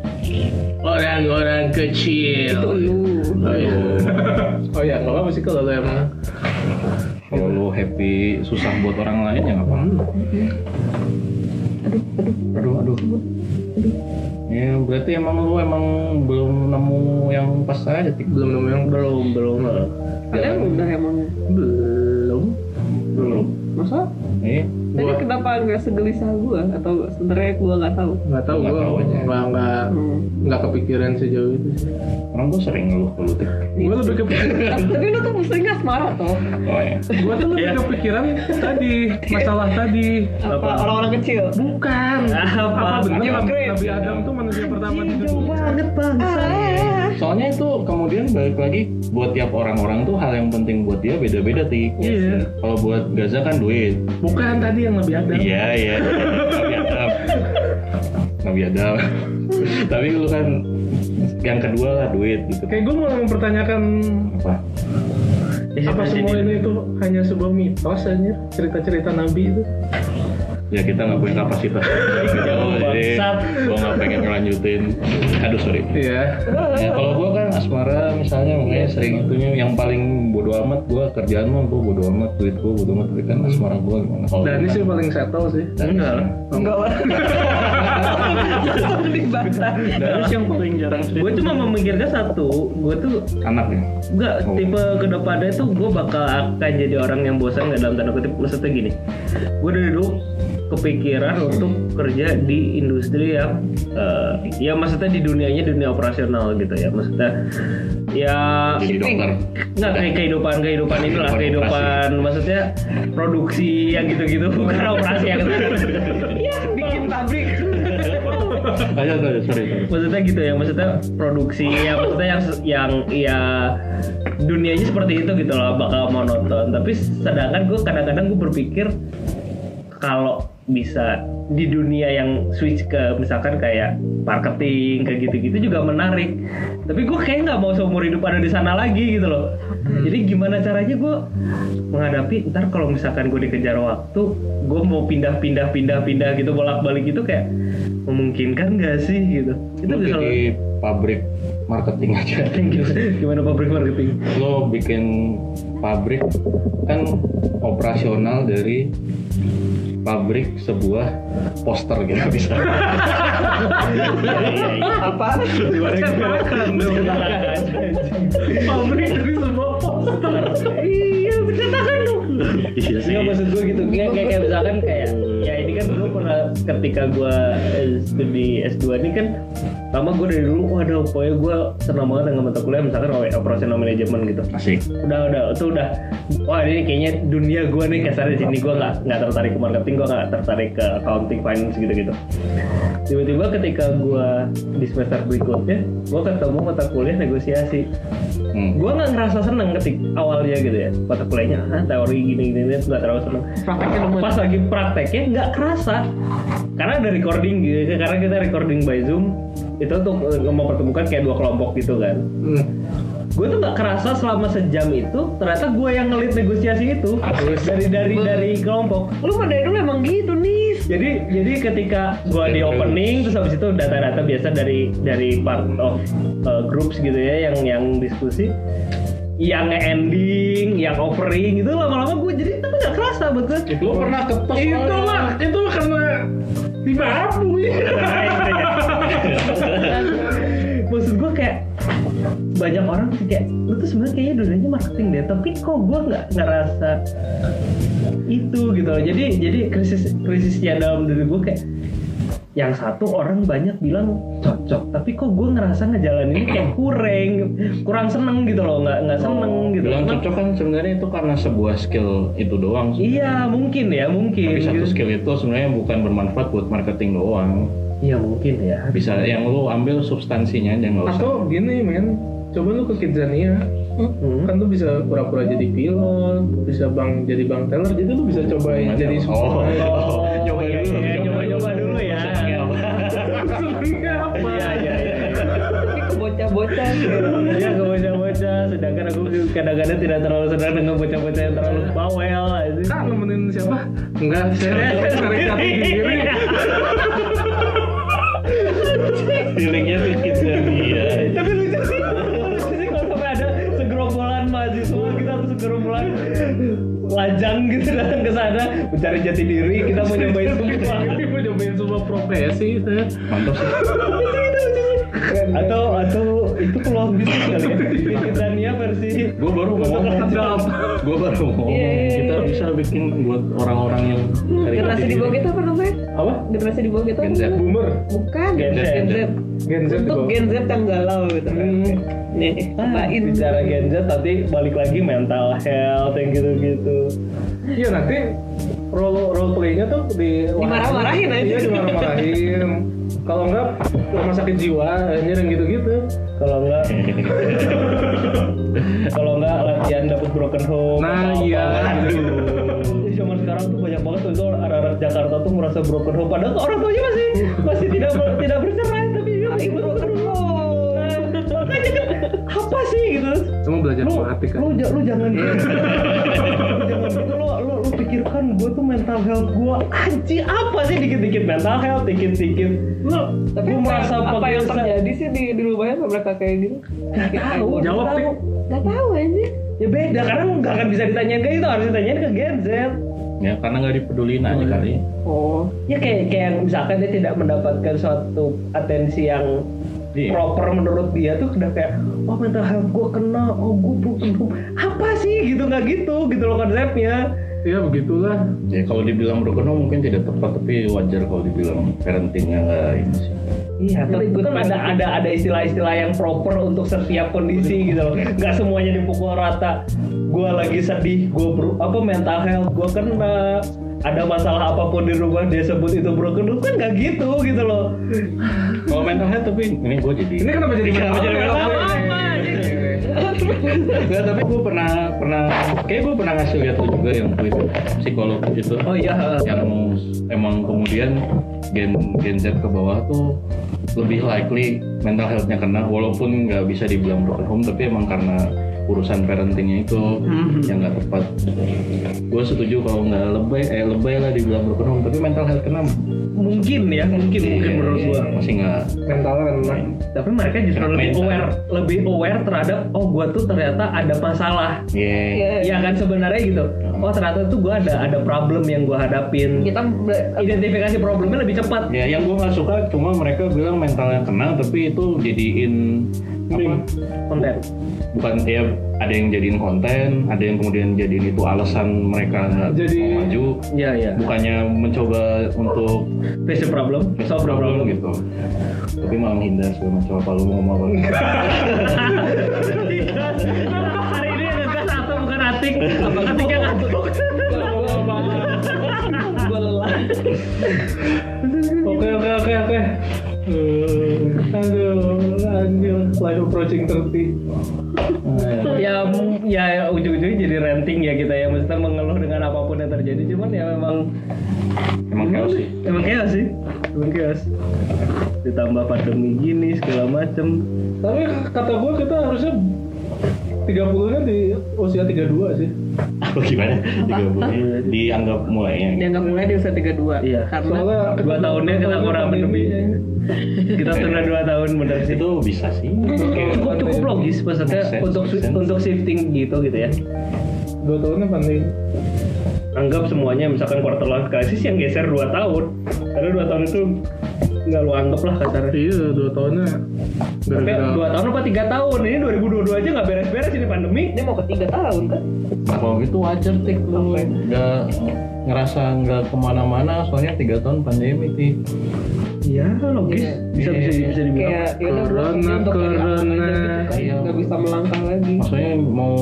orang-orang
Itu
kecil.
lu.
Oh iya.
Kalau-
Oh iya, nggak apa-apa sih kalau lu emang
kalau lu happy susah buat orang lain ya nggak apa-apa aduh aduh ya berarti emang lu emang belum nemu yang pas aja Tik.
belum nemu yang belum belum lah.
Kalian udah emang
belum.
belum
masa?
Iya.
Tadi
Gua-
kenapa nggak segelisah gue atau sebenarnya gue nggak tahu?
Nggak tahu
Nggak
gua
tahu aja.
nggak nggak
Hmm.
nggak kepikiran sejauh itu. sih.
orang gue sering ngeluh gitu, ke lu Tik.
Gua lebih kepikiran
Tapi lu tuh pusingnya asmara toh.
oh ya
gua tuh lebih
Iya.
kepikiran tadi masalah tadi.
Apa orang-orang kecil?
Bukan.
Iya. Apa?
Apa benar
Nyokrim.
Nabi Adam tuh manusia pertama di dunia?
banget bang.
soalnya itu kemudian balik lagi buat tiap orang-orang tuh hal yang penting buat dia beda-beda tik
Iya.
kalau buat Gaza kan duit
Bukan tadi yang Nabi Adam.
iya iya Nabi Adam Nabi Adam tapi lu kan yang kedua lah duit gitu
Kayak gue mau mempertanyakan
apa
Iya,
apa semua ini tuh hanya sebuah mitos aja cerita-cerita Nabi itu.
ya kita nggak punya kapasitas
Jauh,
jadi
bangsat.
gua nggak pengen ngelanjutin aduh sorry
Iya.
Ya, kalau gua kan asmara misalnya makanya sering itunya yang paling bodo amat gua kerjaan mah gua bodo amat duit gua bodo amat tapi kan asmara gua kan gimana kalau
Dan ini sih paling settle sih.
Enggak lah.
Enggak lah. Langsung dibantah.
Danis yang paling jarang
Gue cuma memikirkan satu, gue tuh
anaknya
Enggak,
Oh.
tipe kedepannya tuh gue bakal akan jadi orang yang bosan nggak dalam tanda kutip maksudnya gini gue dari dulu kepikiran
Hmm.
untuk kerja di industri yang eh, ya maksudnya di dunianya dunia operasional gitu ya maksudnya ya
jadi dokter
nggak kayak kehidupan kehidupan inilah
Kehidupan
kehidupan maksudnya produksi yang gitu-gitu bukan operasi yang
Bikin pabrik.
aja aja sorry sorry
maksudnya gitu ya maksudnya produksi ya maksudnya yang yang ya dunianya seperti itu gitu loh bakal monoton tapi sedangkan gue kadang-kadang gue berpikir kalau bisa di dunia yang switch ke misalkan kayak marketing kayak gitu-gitu juga menarik tapi gue kayak nggak mau seumur hidup ada di sana lagi gitu loh jadi gimana caranya gue menghadapi ntar kalau misalkan gue dikejar waktu gue mau pindah-pindah pindah-pindah gitu bolak-balik gitu kayak memungkinkan nggak sih gitu itu
lu
bisa gitu.
jadi pabrik marketing aja
gimana, gimana pabrik marketing
lo bikin pabrik kan operasional dari pabrik sebuah poster gitu bisa
Apa?
pabrik dari sebuah poster iya bercetakan dong
iya
Iya maksud gue gitu kayak, kayak, kayak misalkan kayak ya ini kan dulu pernah ketika gue studi S2 ini kan lama gue dari dulu waduh pokoknya gue senang banget dengan mata kuliah misalkan operasional manajemen gitu
asik
udah udah itu udah wah ini kayaknya dunia gue nih kasarnya di sini gue nggak nggak tertarik ke marketing gue nggak tertarik ke accounting finance gitu gitu tiba-tiba ketika gue di semester berikutnya gue ketemu mata kuliah negosiasi
hmm.
gue nggak ngerasa seneng ketik awalnya gitu ya mata kuliahnya ah, teori gini gini gini nggak terlalu seneng
Prakteknya lumayan.
pas lagi prakteknya nggak kerasa karena ada recording gitu karena kita recording by zoom itu untuk mempertemukan kayak dua kelompok gitu kan
Hmm.
gue tuh nggak kerasa selama sejam itu ternyata gue yang ngelit negosiasi itu dari dari dari kelompok
Lu mah dari dulu emang gitu nih.
jadi jadi ketika gua di opening terus habis itu data-data biasa dari dari part of uh, groups gitu ya yang yang diskusi yang ending, yang offering itu lama-lama gue jadi tapi nggak kerasa buat gue.
Lu pernah kepes
itu mah itu karena dibabu ya
Maksud gue kayak banyak orang sih kayak lu tuh sebenarnya kayaknya dunianya marketing deh tapi kok gue nggak ngerasa itu gitu loh. jadi jadi krisis krisisnya dalam diri gue kayak yang satu orang banyak bilang cocok tapi kok gue ngerasa ngejalaninnya kayak kurang kurang seneng gitu loh nggak nggak seneng gitu
Bilang cocok kan sebenarnya itu karena sebuah skill itu doang.
iya mungkin ya mungkin
Iya.
Tapi satu
gitu.
skill itu sebenarnya bukan bermanfaat buat marketing doang.
iya mungkin ya
Bisa yang lu ambil substansinya aja nggak usah.
atau gini men coba lu ke Kidzania
Hmm.
kan lu bisa pura-pura jadi pilot bisa bang jadi bang teller jadi lu bisa cobain
Gimana?
jadi
oh,
semua
oh, nyoba
iya,
dulu.
iya, nyoba-nyoba dulu ya.
Senangnya apa?
iya iya iya
Tapi ke bocah-bocah gitu.
Iya ke bocah-bocah, sedangkan aku kadang-kadang tidak terlalu senang dengan bocah-bocah yang terlalu bawel anjing.
Kak nemenin siapa? Enggak, saya cari cari sendiri.
Feelingnya sedikit
gitu.
dari ya.
Tapi lucu sih, lucu sih kalau sampai ada segerombolan mahasiswa kita atau segerombolan lajang gitu datang ke sana mencari jati diri kita mau nyobain semua.
Ini mau nyobain semua profesi saya.
Mantap sih.
Atau atau itu peluang bisnis kali ya Britania versi
Gue baru mau ngomong.
Sedap.
Gue baru mau ngomong.
Iya, iya,
Kita
iya.
bisa bikin buat orang-orang yang cari
Generasi
jati
di bawah
diri.
kita apa namanya?
apa?
Generasi di bawah kita apa
Gen Z.
namanya?
Boomer,
Bukan.
Gen Z.
Gen Z.
Gen Z di
Untuk
bawah.
Gen Z yang galau gitu kan.
Hmm.
Nih,
Ah,
cobain.
bicara Gen Z tapi balik lagi mental health yang gitu-gitu.
Iya nanti role role playnya tuh di
Dimarah-marahin aja.
Iya dimarah-marahin. Kalau enggak rumah sakit jiwa anjir yang gitu-gitu.
Kalau enggak kalau enggak latihan dapat broken home.
Nah,
apa-apa.
iya.
Aduh. Jadi Zaman sekarang tuh banyak banget tuh itu anak-anak Jakarta tuh merasa broken home padahal orang tuanya masih masih tidak ber- tidak bercerai tapi dia masih broken home. Nah, Makanya kan apa sih gitu?
Cuma belajar
Lu,
mati kan.
lu, ja- lu jangan gitu. Lu jangan gitu lu, lu, lu pikirkan gue tuh mental health gue anji apa sih dikit-dikit mental health dikit-dikit lu
Tapi
gua
apa-
merasa
apa yang
pegesan.
terjadi sih di di rumahnya sama mereka kayak gitu?
tahu.
Jawab sih.
Gak tahu aja.
Ya beda, karena nggak akan bisa ditanyain ke itu, harus ditanyain ke Gen Z.
Ya karena nggak dipedulin
Iya.
aja kali.
Oh.
Ya kayak kayak yang misalkan dia tidak mendapatkan suatu atensi yang
Iya.
proper menurut dia tuh udah kayak oh mental health gue kena, oh gue broken home. Apa sih gitu nggak gitu gitu loh konsepnya.
Iya begitulah.
Ya kalau dibilang broken home mungkin tidak tepat tapi wajar kalau dibilang parentingnya nggak ini sih.
Iya, tapi itu kan ada ada ada istilah-istilah yang proper untuk setiap kondisi gitu loh. Nggak semuanya dipukul rata. Gue lagi sedih, gue apa mental health gue kena ada masalah apapun di rumah dia sebut itu broken home kan nggak gitu gitu loh.
Kalau mental health tapi ini gue jadi.
Ini kenapa jadi
Kenapa jadi
apa?
Nggak, tapi gue pernah pernah kayak gue pernah ngasih lihat lu juga yang tweet psikolog itu
Oh iya.
yang emang kemudian gen gen Z ke bawah tuh lebih likely mental healthnya kena walaupun nggak bisa dibilang broken home tapi emang karena urusan parentingnya itu
Hmm.
yang nggak tepat gue setuju kalau nggak lebay eh lebay lah dibilang broken home tapi mental health kena
Mungkin ya, mungkin mungkin
Iya,
menurut gue.
masih nggak
Mentalnya enak.
Tapi mereka justru lebih
Mental.
aware, lebih aware terhadap oh gue tuh ternyata ada masalah.
yeah.
Iya.
Ya kan sebenarnya gitu. Oh ternyata tuh gue ada ada problem yang gue hadapin.
Kita ber-
Identifikasi problemnya lebih cepat.
Ya, yang gue nggak suka cuma mereka bilang mentalnya kena, tapi itu jadiin apa?
Konten.
Bukan ya ada yang jadiin konten, ada yang kemudian jadiin itu alasan mereka nggak
Jadi-
mau maju.
Iya iya.
Bukannya mencoba untuk
Face the problem,
fix
solve the
problem
problem.
gitu. Tapi malah menghindar segala macam apa lu mau ngomong apa.
Hari ini ngegas atau bukan atik? Apa kan atiknya ngantuk?
Gue lelah.
Oke oke oke oke. Eh, aduh, anjir, life approaching 30
ya m- ya ujung-ujungnya jadi ranting ya kita ya maksudnya mengeluh dengan apapun yang terjadi cuman ya memang
Emang chaos sih.
emang chaos sih emang chaos ditambah pandemi gini segala macem
Tapi kata gue kita harusnya 30-nya di usia 32 sih.
Apa gimana? Tiga bulan dianggap mulainya. gitu.
dianggap mulai di usia 32
Iya.
karena
Soalnya
Dua tahunnya kita kurang pandemi. Kita tunda dua tahun bener sih.
Itu bisa sih. Oke.
Cukup, cukup logis maksudnya
Make sense,
untuk
make
swi-
sense.
untuk shifting gitu gitu ya.
Dua tahunnya pandemi.
Anggap semuanya misalkan quarter life crisis yang geser dua tahun. Karena dua tahun itu nggak lu anggap lah kasarnya.
Iya, dua tahunnya
Tapi
gara-gara
dua tahun apa tiga tahun ini 2022 aja nggak beres-beres ini pandemi.
Dia mau ke tiga tahun kan?
Kalau gitu wajar tik lu nggak ngerasa nggak kemana-mana soalnya tiga tahun pandemi sih.
Iya logis. Bisa bisa bisa dibilang.
Kayak ya udah
Corona,
posisi untuk kayak aman aja gitu kan.
Iya.
nggak bisa melangkah lagi.
Maksudnya mau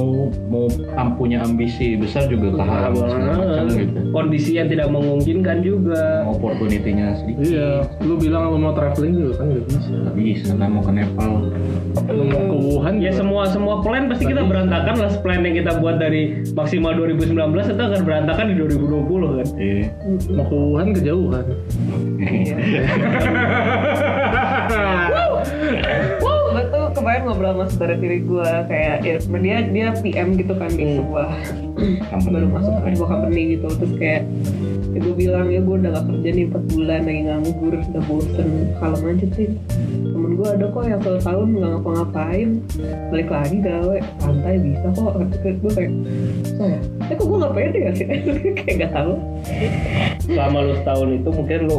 mau am- punya ambisi besar juga tahan segala macam gitu.
Kondisi yang tidak memungkinkan juga.
Opportunity-nya sedikit.
Iya, lu bilang lu mau traveling juga kan nggak bisa.
Nggak bisa lah mau ke Nepal.
Lu mau ke Wuhan
Ya
juga.
semua semua plan pasti kita berantakan lah plan yang kita buat dari maksimal 2019 itu akan berantakan di 2020 kan.
Iya.
mau ke Wuhan kejauhan.
Gue tuh kemarin ngobrol sama saudara tiri gue kayak ya, dia dia PM gitu kan di sebuah
Company.
baru masuk ke sebuah company gitu terus kayak ya gue bilang ya gue udah gak kerja nih 4 bulan lagi nganggur udah bosen kalau macet sih temen gue ada kok yang satu tahun nggak ngapa-ngapain balik lagi gawe santai bisa kok terus gue kayak saya eh kok gue nggak pede ya sih kayak nggak tahu
Selama lu setahun itu mungkin lu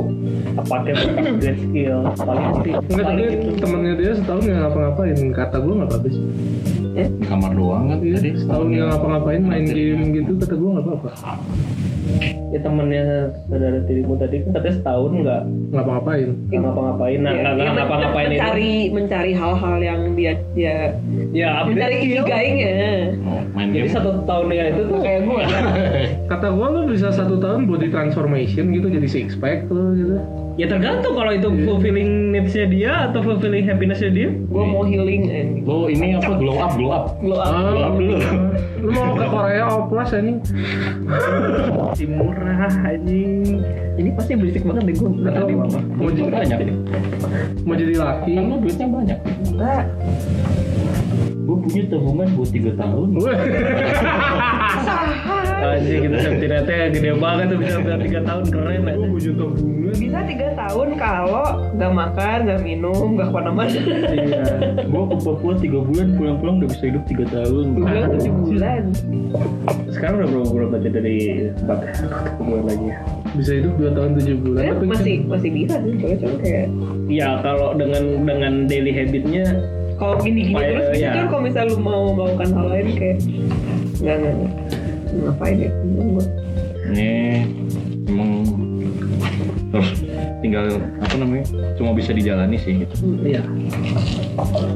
pakai buat upgrade skill paling
Enggak, tapi
paling itu.
temennya dia setahun nggak ngapa-ngapain. Kata gue nggak apa-apa sih.
Di kamar doang kan
Iya,
tadi.
setahun nggak ngapa-ngapain main game gitu, kata gue nggak apa-apa.
Ya temennya saudara tirimu tadi kan katanya setahun nggak
Ngapa-ngapain.
nggak ngapa-ngapain, nah
Ya,
nggak
dia
nggak
men-
ngapa-ngapain itu.
mencari mencari hal-hal yang dia dia
Ya
mencari
upgrade skill.
ikigainya
Mau main
Jadi
game.
satu tahun dengan itu tuh kayak gue.
Kata gue lu bisa satu tahun body transformation gitu, jadi six pack lu gitu.
Ya tergantung kalau itu fulfilling needs-nya dia atau fulfilling happiness-nya dia.
gue mau healing eh, and
Lo ini apa glow up glow up.
glow up
Ah,
Glow up dulu.
lu mau ke Korea oplas ini
Masih murah anjing.
ini pasti berisik banget deh gue nggak
Iya,
tahu apa
mau
Duitnya
jadi
banyak.
mau jadi laki
Kan lo duitnya banyak.
Nah,
Gue punya tabungan buat tiga tahun.
Weh,
Anjir kita safety net-nya gede banget tuh bisa sampai 3 tahun keren aja.
bisa tiga tahun kalau nggak makan nggak minum nggak kemana-mana
Iya.
Gue ke Papua tiga bulan pulang-pulang udah bisa hidup tiga tahun.
bulan tujuh bulan
Sekarang udah berapa bulan aja dari 4 bulan lagi.
bisa hidup 2 tahun 7 bulan gitu?
Sebenarnya
tapi
Iya, masih masih bisa sih cuma cuma kayak
Ya kalau dengan dengan daily habitnya
kalau gini-gini
Supaya,
terus
ya.
jujur kalau misalnya lu mau melakukan hal lain kayak nggak nggak nggak. ngapain ya Bingung gua.
Ini emang terus tinggal apa namanya cuma bisa dijalani sih gitu.
iya.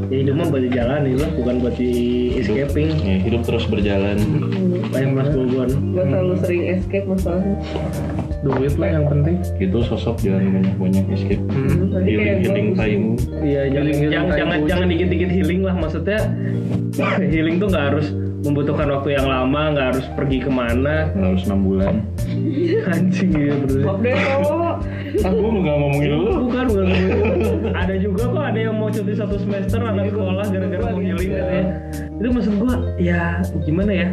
Ya hidup mah buat dijalani lah, bukan buat di escaping.
Ya, hidup terus berjalan.
Kayak Mas Bogor.
gua terlalu sering escape masalahnya
kan duit lah yang penting Hmm.
Gitu sosok jangan banyak-banyak escape.
Soalnya kayak
Hmm. Healing
gua
healing
pusing.
time.
Iya, jangan
Healing-healing
jangan
kayak
jangan,
kucing.
jangan dikit-dikit healing lah maksudnya. healing tuh nggak harus membutuhkan waktu yang lama, nggak harus pergi kemana.
Nggak harus enam bulan.
Anjing ya bener.
Waktu itu
Ah, gue nggak ngomongin lu.
Bukan, bukan. bukan. ada juga kok ada yang mau cuti satu semester anak sekolah gara-gara mau healing katanya. Itu maksud gua, ya gimana ya?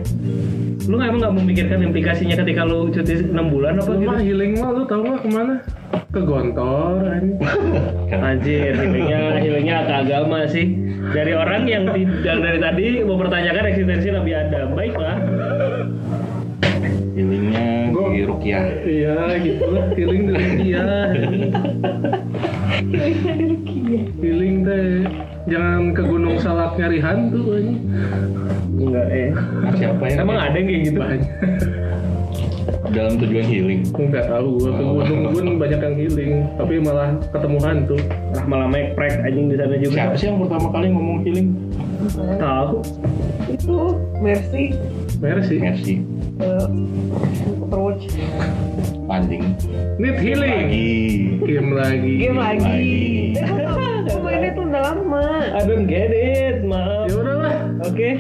Lu nggak emang nggak memikirkan implikasinya ketika lu cuti 6 bulan apa
lu
gitu?
mah healing mah lu tau gak kemana ke gontor ini
Anjir, healingnya healingnya ke agama sih. Dari orang yang tidak dari tadi mempertanyakan eksistensi Nabi Adam. Baiklah.
Healingnya
Gua-
di Rukiah.
iya gitu lah healing dari dia healing teh jangan ke gunung salak nyari hantu ini
Enggak eh.
Nah, Siapa yang
Emang ada yang kayak gitu?
banyak
dalam tujuan healing?
nggak tahu gua ke gunung pun banyak yang healing tapi malah ketemu hantu
Ah, malah make prank anjing di sana juga.
Siapa sih yang pertama kali ngomong healing?
Tahu.
itu Mercy
Mercy
Mercy,
eh, Overwatch
anjing.
need healing
Lagi.
game lagi
game lagi
Lagi.
gue mainnya tuh udah lama
I don't get it, maaf.
ya udahlah
Oke.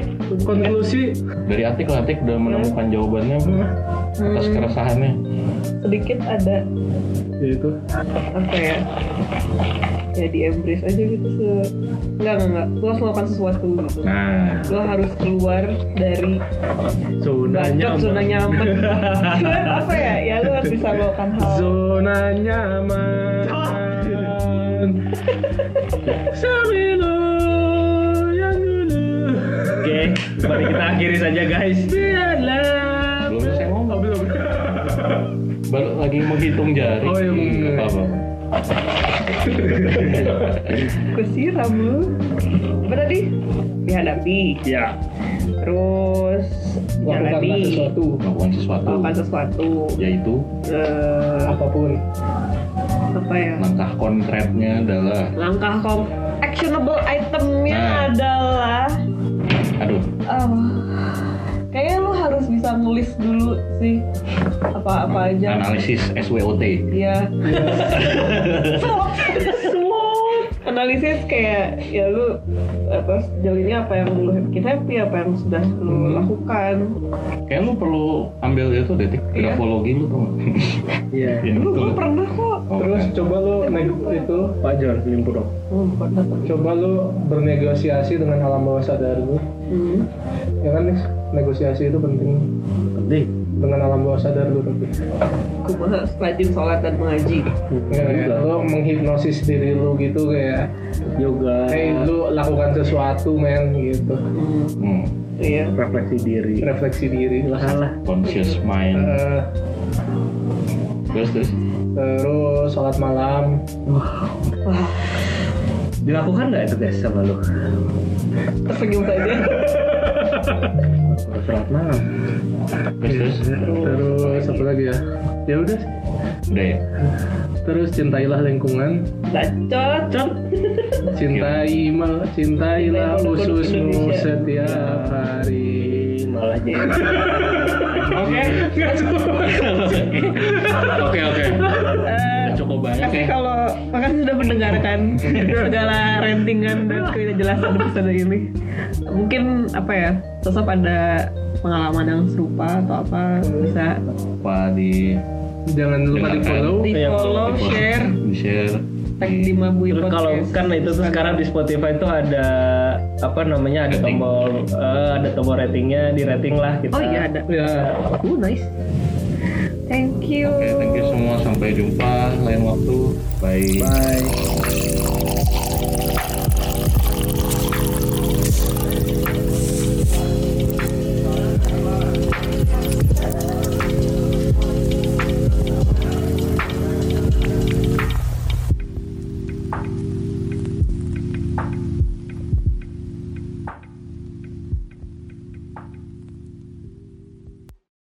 konklusi
Dari Atik lah, Atik udah menemukan jawabannya
Hmm,
atas keresahannya.
sedikit ada
ya itu
apa ya ya di embrace aja gitu se enggak enggak enggak lo harus melakukan sesuatu gitu
Nah,
lo harus keluar dari
zona
bacot
nyaman
zona nyaman Cuman apa ya ya lo harus bisa melakukan hal
Zona nyaman.
Oh.
Samilo yang dulu.
oke mari kita akhiri saja guys
Biarlah.
Belum selesai ngomong.
Oh, belum.
baru lagi menghitung jari.
Oh, iya,
Nggak
bener.
apa-apa.
kusiram lo apa tadi dihadapi
ya
terus
Lakukanlah
jalani
sesuatu
Melakukan sesuatu,
melakukan sesuatu
yaitu
eh
apapun.
apa ya
langkah konkretnya adalah,
langkah kom actionable itemnya
Nah.
adalah
aduh,
eh, kayaknya lu harus bisa nulis dulu sih apa-apa
Nah,
aja
analisis SWOT.
Iya. Slot. Slot. Analisis kayak ya lu apa sejauh ini apa yang lu bikin happy, apa yang sudah lu
Hmm.
lakukan.
Kayak lu perlu ambil itu detik
Iya.
grafologi lu tuh.
iya
Iya.
Lu gue pernah kok.
Terus
kan?
coba lu naik itu,
Pak John Limpo dong
Hmm, pernah.
coba lu bernegosiasi dengan alam bawah sadar lu.
Hmm.
Ya kan Nis? negosiasi itu penting
penting
dengan alam bawah sadar lu tapi.
Gue masa rajin sholat dan mengaji.
Ya,
Iya.
lu menghipnosis diri lu gitu kayak,
yoga
hey lu lakukan sesuatu men gitu.
Hmm.
Hmm,
Iya.
refleksi diri
Refleksi diri lah.
salah
conscious mind.
Eh,
Terus terus
terus sholat malam
Wah,
dilakukan nggak itu guys sama lu
tersenyum saja.
sholat malam
terus terus
Iya. terus apa lagi ya ya udah
udah ya.
terus cintailah lingkungan
Bacot.
cintai mal cintailah
Cintai penduduk
ususmu
Indonesia.
setiap hari
Ih, malah jadi
Oke. Oke oke. Cukup banyak
Eh, Tapi
ya.
kalau makasih sudah mendengarkan segala rentingan dan ketidakjelasan episode ini. Mungkin apa ya, sosok ada pengalaman yang serupa atau apa bisa
Apa di
jangan lupa di follow
di follow, Oh, share,
di share.
tag di Mabui
Terus kalau
Podcast.
kan itu tuh sekarang di Spotify tuh ada apa namanya ada
Rating.
tombol eh, ada tombol ratingnya di rating lah kita.
Oh iya ada.
ya
Oh nice. Thank you.
Oke, thank you semua. Sampai jumpa lain waktu. Bye.
Bye.